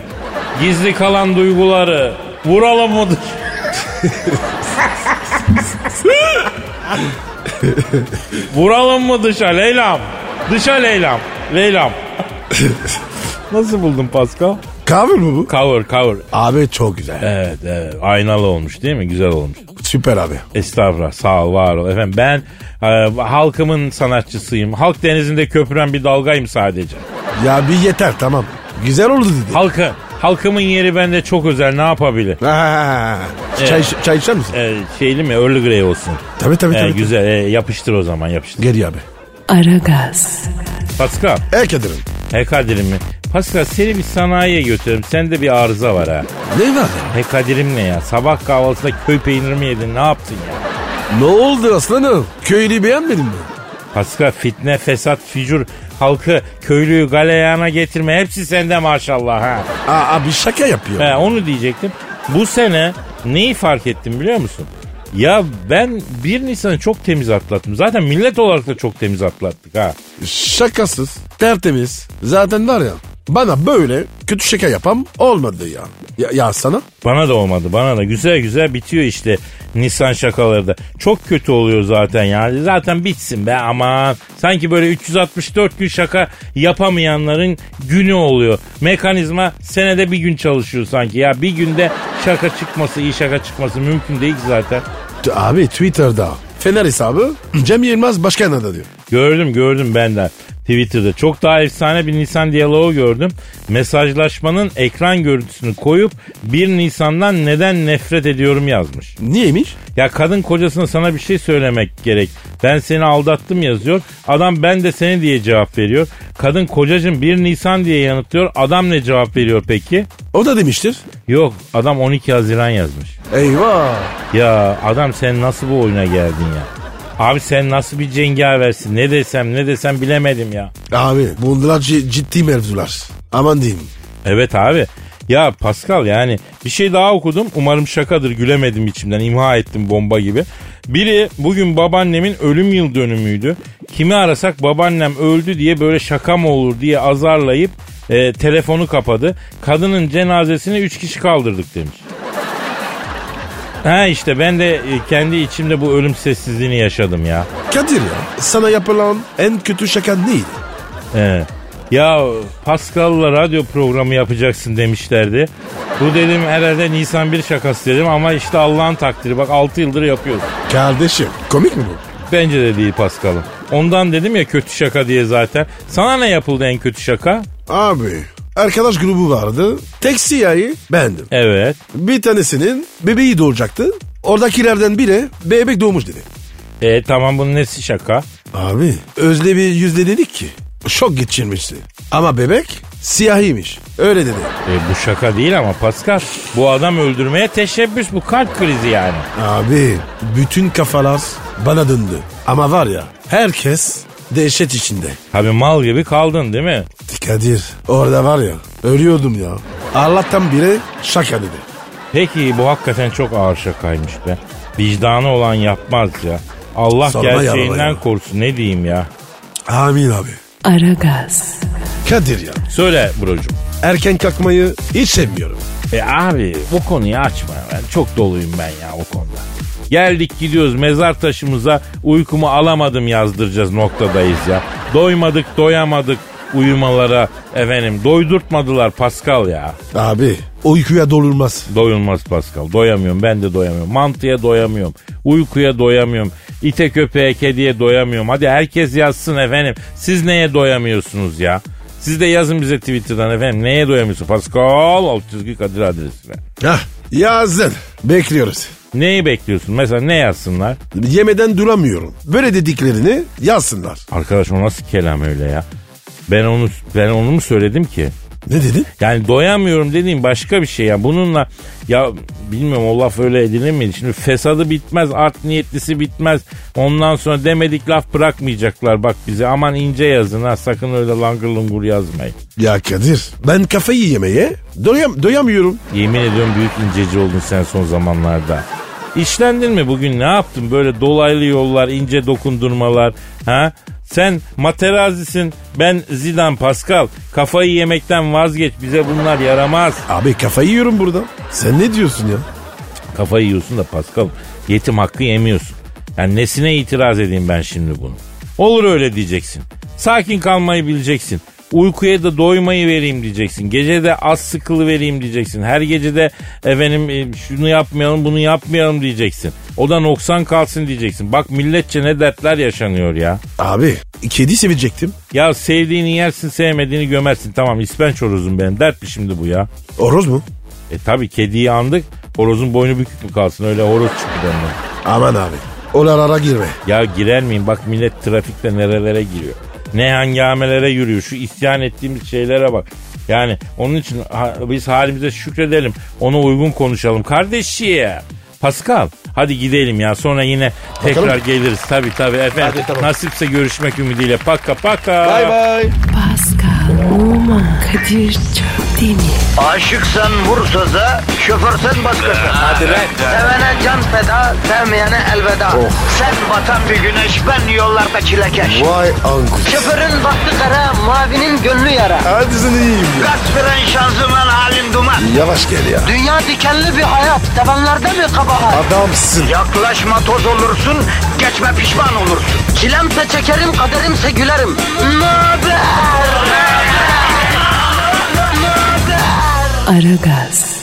Gizli kalan duyguları vuralım mı? Vuralım mı dışa Leyla'm? Dışa Leyla'm. Leyla'm. Nasıl buldun Pascal?
Cover mı bu?
Cover cover.
Abi çok güzel.
Evet evet. Aynalı olmuş değil mi? Güzel olmuş.
Süper abi.
Estağfurullah sağ ol var ol. Efendim ben e, halkımın sanatçısıyım. Halk denizinde köpüren bir dalgayım sadece.
Ya bir yeter tamam. Güzel oldu dedi.
Halkı, halkımın yeri bende çok özel ne yapabilir?
Ha, Çay, çay içer misin?
E, şeyli mi Earl Grey olsun.
Tabii tabii
E,
tabii.
güzel e, yapıştır o zaman yapıştır.
Gel abi.
Aragaz,
Pascal.
E Kadir'im.
He Kadir'im mi? Pascal seni bir sanayiye götürürüm. Sende bir arıza var ha.
Ne var ya?
He Kadir'im ne ya? Sabah kahvaltısında köy peyniri mi yedin? Ne yaptın ya?
Ne oldu aslanım? Köylüyü beğenmedin mi?
Pascal fitne, fesat, fücur, halkı, köylüyü galeyana getirme. Hepsi sende maşallah ha.
Aa, abi şaka yapıyor.
He, onu diyecektim. Bu sene neyi fark ettim biliyor musun? Ya ben 1 Nisan'ı çok temiz atlattım. Zaten millet olarak da çok temiz atlattık ha.
Şakasız, tertemiz. Zaten var ya bana böyle kötü şaka yapam olmadı ya. Ya, ya sana?
Bana da olmadı bana da güzel güzel bitiyor işte Nisan şakaları da. Çok kötü oluyor zaten yani zaten bitsin be aman. Sanki böyle 364 gün şaka yapamayanların günü oluyor. Mekanizma senede bir gün çalışıyor sanki ya bir günde şaka çıkması iyi şaka çıkması mümkün değil ki zaten.
T- Abi Twitter'da Fener hesabı Cem Yılmaz başkan adı diyor.
Gördüm gördüm ben de Twitter'da. Çok daha efsane bir Nisan diyaloğu gördüm. Mesajlaşmanın ekran görüntüsünü koyup 1 Nisan'dan neden nefret ediyorum yazmış.
Niyeymiş?
Ya kadın kocasına sana bir şey söylemek gerek. Ben seni aldattım yazıyor. Adam ben de seni diye cevap veriyor. Kadın kocacım 1 Nisan diye yanıtlıyor. Adam ne cevap veriyor peki?
O da demiştir.
Yok adam 12 Haziran yazmış.
Eyvah.
Ya adam sen nasıl bu oyuna geldin ya? Abi sen nasıl bir cengaversin? Ne desem ne desem bilemedim ya.
Abi bunlar ci- ciddi mevzular. Aman diyeyim.
Evet abi. Ya Pascal yani bir şey daha okudum. Umarım şakadır gülemedim içimden. imha ettim bomba gibi. Biri bugün babaannemin ölüm yıl dönümüydü. Kimi arasak babaannem öldü diye böyle şaka mı olur diye azarlayıp e, telefonu kapadı. Kadının cenazesini 3 kişi kaldırdık demiş. Ha işte ben de e, kendi içimde bu ölüm sessizliğini yaşadım ya.
Kadir ya sana yapılan en kötü şaka neydi?
He. Ya Pascal'la radyo programı yapacaksın demişlerdi. Bu dedim herhalde Nisan 1 şakası dedim ama işte Allah'ın takdiri. Bak 6 yıldır yapıyoruz.
Kardeşim komik mi bu?
Bence de değil Pascal'ım. Ondan dedim ya kötü şaka diye zaten. Sana ne yapıldı en kötü şaka?
Abi arkadaş grubu vardı. Tek siyahı bendim.
Evet.
Bir tanesinin bebeği doğacaktı. Oradakilerden biri bebek doğmuş dedi.
E tamam bunun nesi şaka?
Abi Özlem'i yüzde dedik ki şok geçirmişti. Ama bebek siyahiymiş. Öyle dedi.
E, bu şaka değil ama Pascal. Bu adam öldürmeye teşebbüs bu kalp krizi yani.
Abi bütün kafalar bana döndü. Ama var ya herkes dehşet içinde.
Tabii mal gibi kaldın değil mi?
Kadir orada var ya ölüyordum ya. Allah'tan biri şaka dedi.
Peki bu hakikaten çok ağır şakaymış be. Vicdanı olan yapmaz ya. Allah
Sorma
gerçeğinden
yaralaya.
korusun ne diyeyim ya.
Amin abi.
Aragaz,
Kadir ya.
Söyle brocum.
Erken kalkmayı hiç sevmiyorum.
E abi bu konuyu açma. Ben çok doluyum ben ya o konuda. Geldik gidiyoruz mezar taşımıza uykumu alamadım yazdıracağız noktadayız ya. Doymadık doyamadık uyumalara efendim doydurtmadılar Pascal ya.
Abi uykuya dolulmaz.
Doyulmaz Pascal. Doyamıyorum ben de doyamıyorum. Mantıya doyamıyorum. Uykuya doyamıyorum. İte köpeğe kediye doyamıyorum. Hadi herkes yazsın efendim. Siz neye doyamıyorsunuz ya? Siz de yazın bize Twitter'dan efendim. Neye doyamıyorsun Pascal? Alt çizgi Kadir adresine.
Hah yazdın. Bekliyoruz.
Neyi bekliyorsun? Mesela ne yazsınlar?
Yemeden duramıyorum. Böyle dediklerini yazsınlar.
Arkadaş o nasıl kelam öyle ya? Ben onu ben onu mu söyledim ki?
Ne dedin?
Yani doyamıyorum dediğim başka bir şey ya. Bununla ya bilmiyorum o laf öyle edilemedi. Şimdi fesadı bitmez, art niyetlisi bitmez. Ondan sonra demedik laf bırakmayacaklar bak bize. Aman ince yazın ha sakın öyle langır lungur yazmayın.
Ya Kadir ben kafayı yemeye doyam doyamıyorum.
Yemin ediyorum büyük inceci oldun sen son zamanlarda. İşlendin mi bugün ne yaptın böyle dolaylı yollar ince dokundurmalar ha? Sen materazisin ben Zidane Pascal kafayı yemekten vazgeç bize bunlar yaramaz.
Abi kafayı yiyorum burada. Sen ne diyorsun ya?
Kafayı yiyorsun da Pascal yetim hakkı yemiyorsun. Yani nesine itiraz edeyim ben şimdi bunu? Olur öyle diyeceksin. Sakin kalmayı bileceksin. Uykuya da doymayı vereyim diyeceksin. Gece de az sıkılı vereyim diyeceksin. Her gece de efendim e, şunu yapmayalım bunu yapmayalım diyeceksin. O da noksan kalsın diyeceksin. Bak milletçe ne dertler yaşanıyor ya.
Abi kedi sevecektim.
Ya sevdiğini yersin sevmediğini gömersin. Tamam ispenç horozum benim. Dert mi şimdi bu ya?
Oroz mu?
E tabi kediyi andık. Horozun boynu bükük mü kalsın? Öyle horoz çıktı ondan.
Aman abi. Olara girme.
Ya girer miyim? Bak millet trafikte nerelere giriyor. Ne hangamelere yürüyor. Şu isyan ettiğimiz şeylere bak. Yani onun için ha- biz halimize şükredelim. Ona uygun konuşalım. Kardeşim. Pascal hadi gidelim ya sonra yine tekrar geliriz tabi tabi efendim nasipse görüşmek ümidiyle paka paka
bay.
Pascal, Oman, Kadir çok değil mi?
Aşıksan vursa da şoförsen başkasın. Hadi Sevene can feda, sevmeyene elveda. Sen batan bir güneş, ben yollarda çilekeş.
Vay anku.
Şoförün baktı kara, mavinin gönlü yara.
Hadi sen iyiyim ya.
Kasperen şanzıman halin duman.
Yavaş gel ya.
Dünya dikenli bir hayat, sevenlerde mi kabahar?
Adamsın.
Yaklaşma toz olursun, geçme pişman olursun. Çilemse çekerim, kaderimse gülerim. Möber!
Aragaz.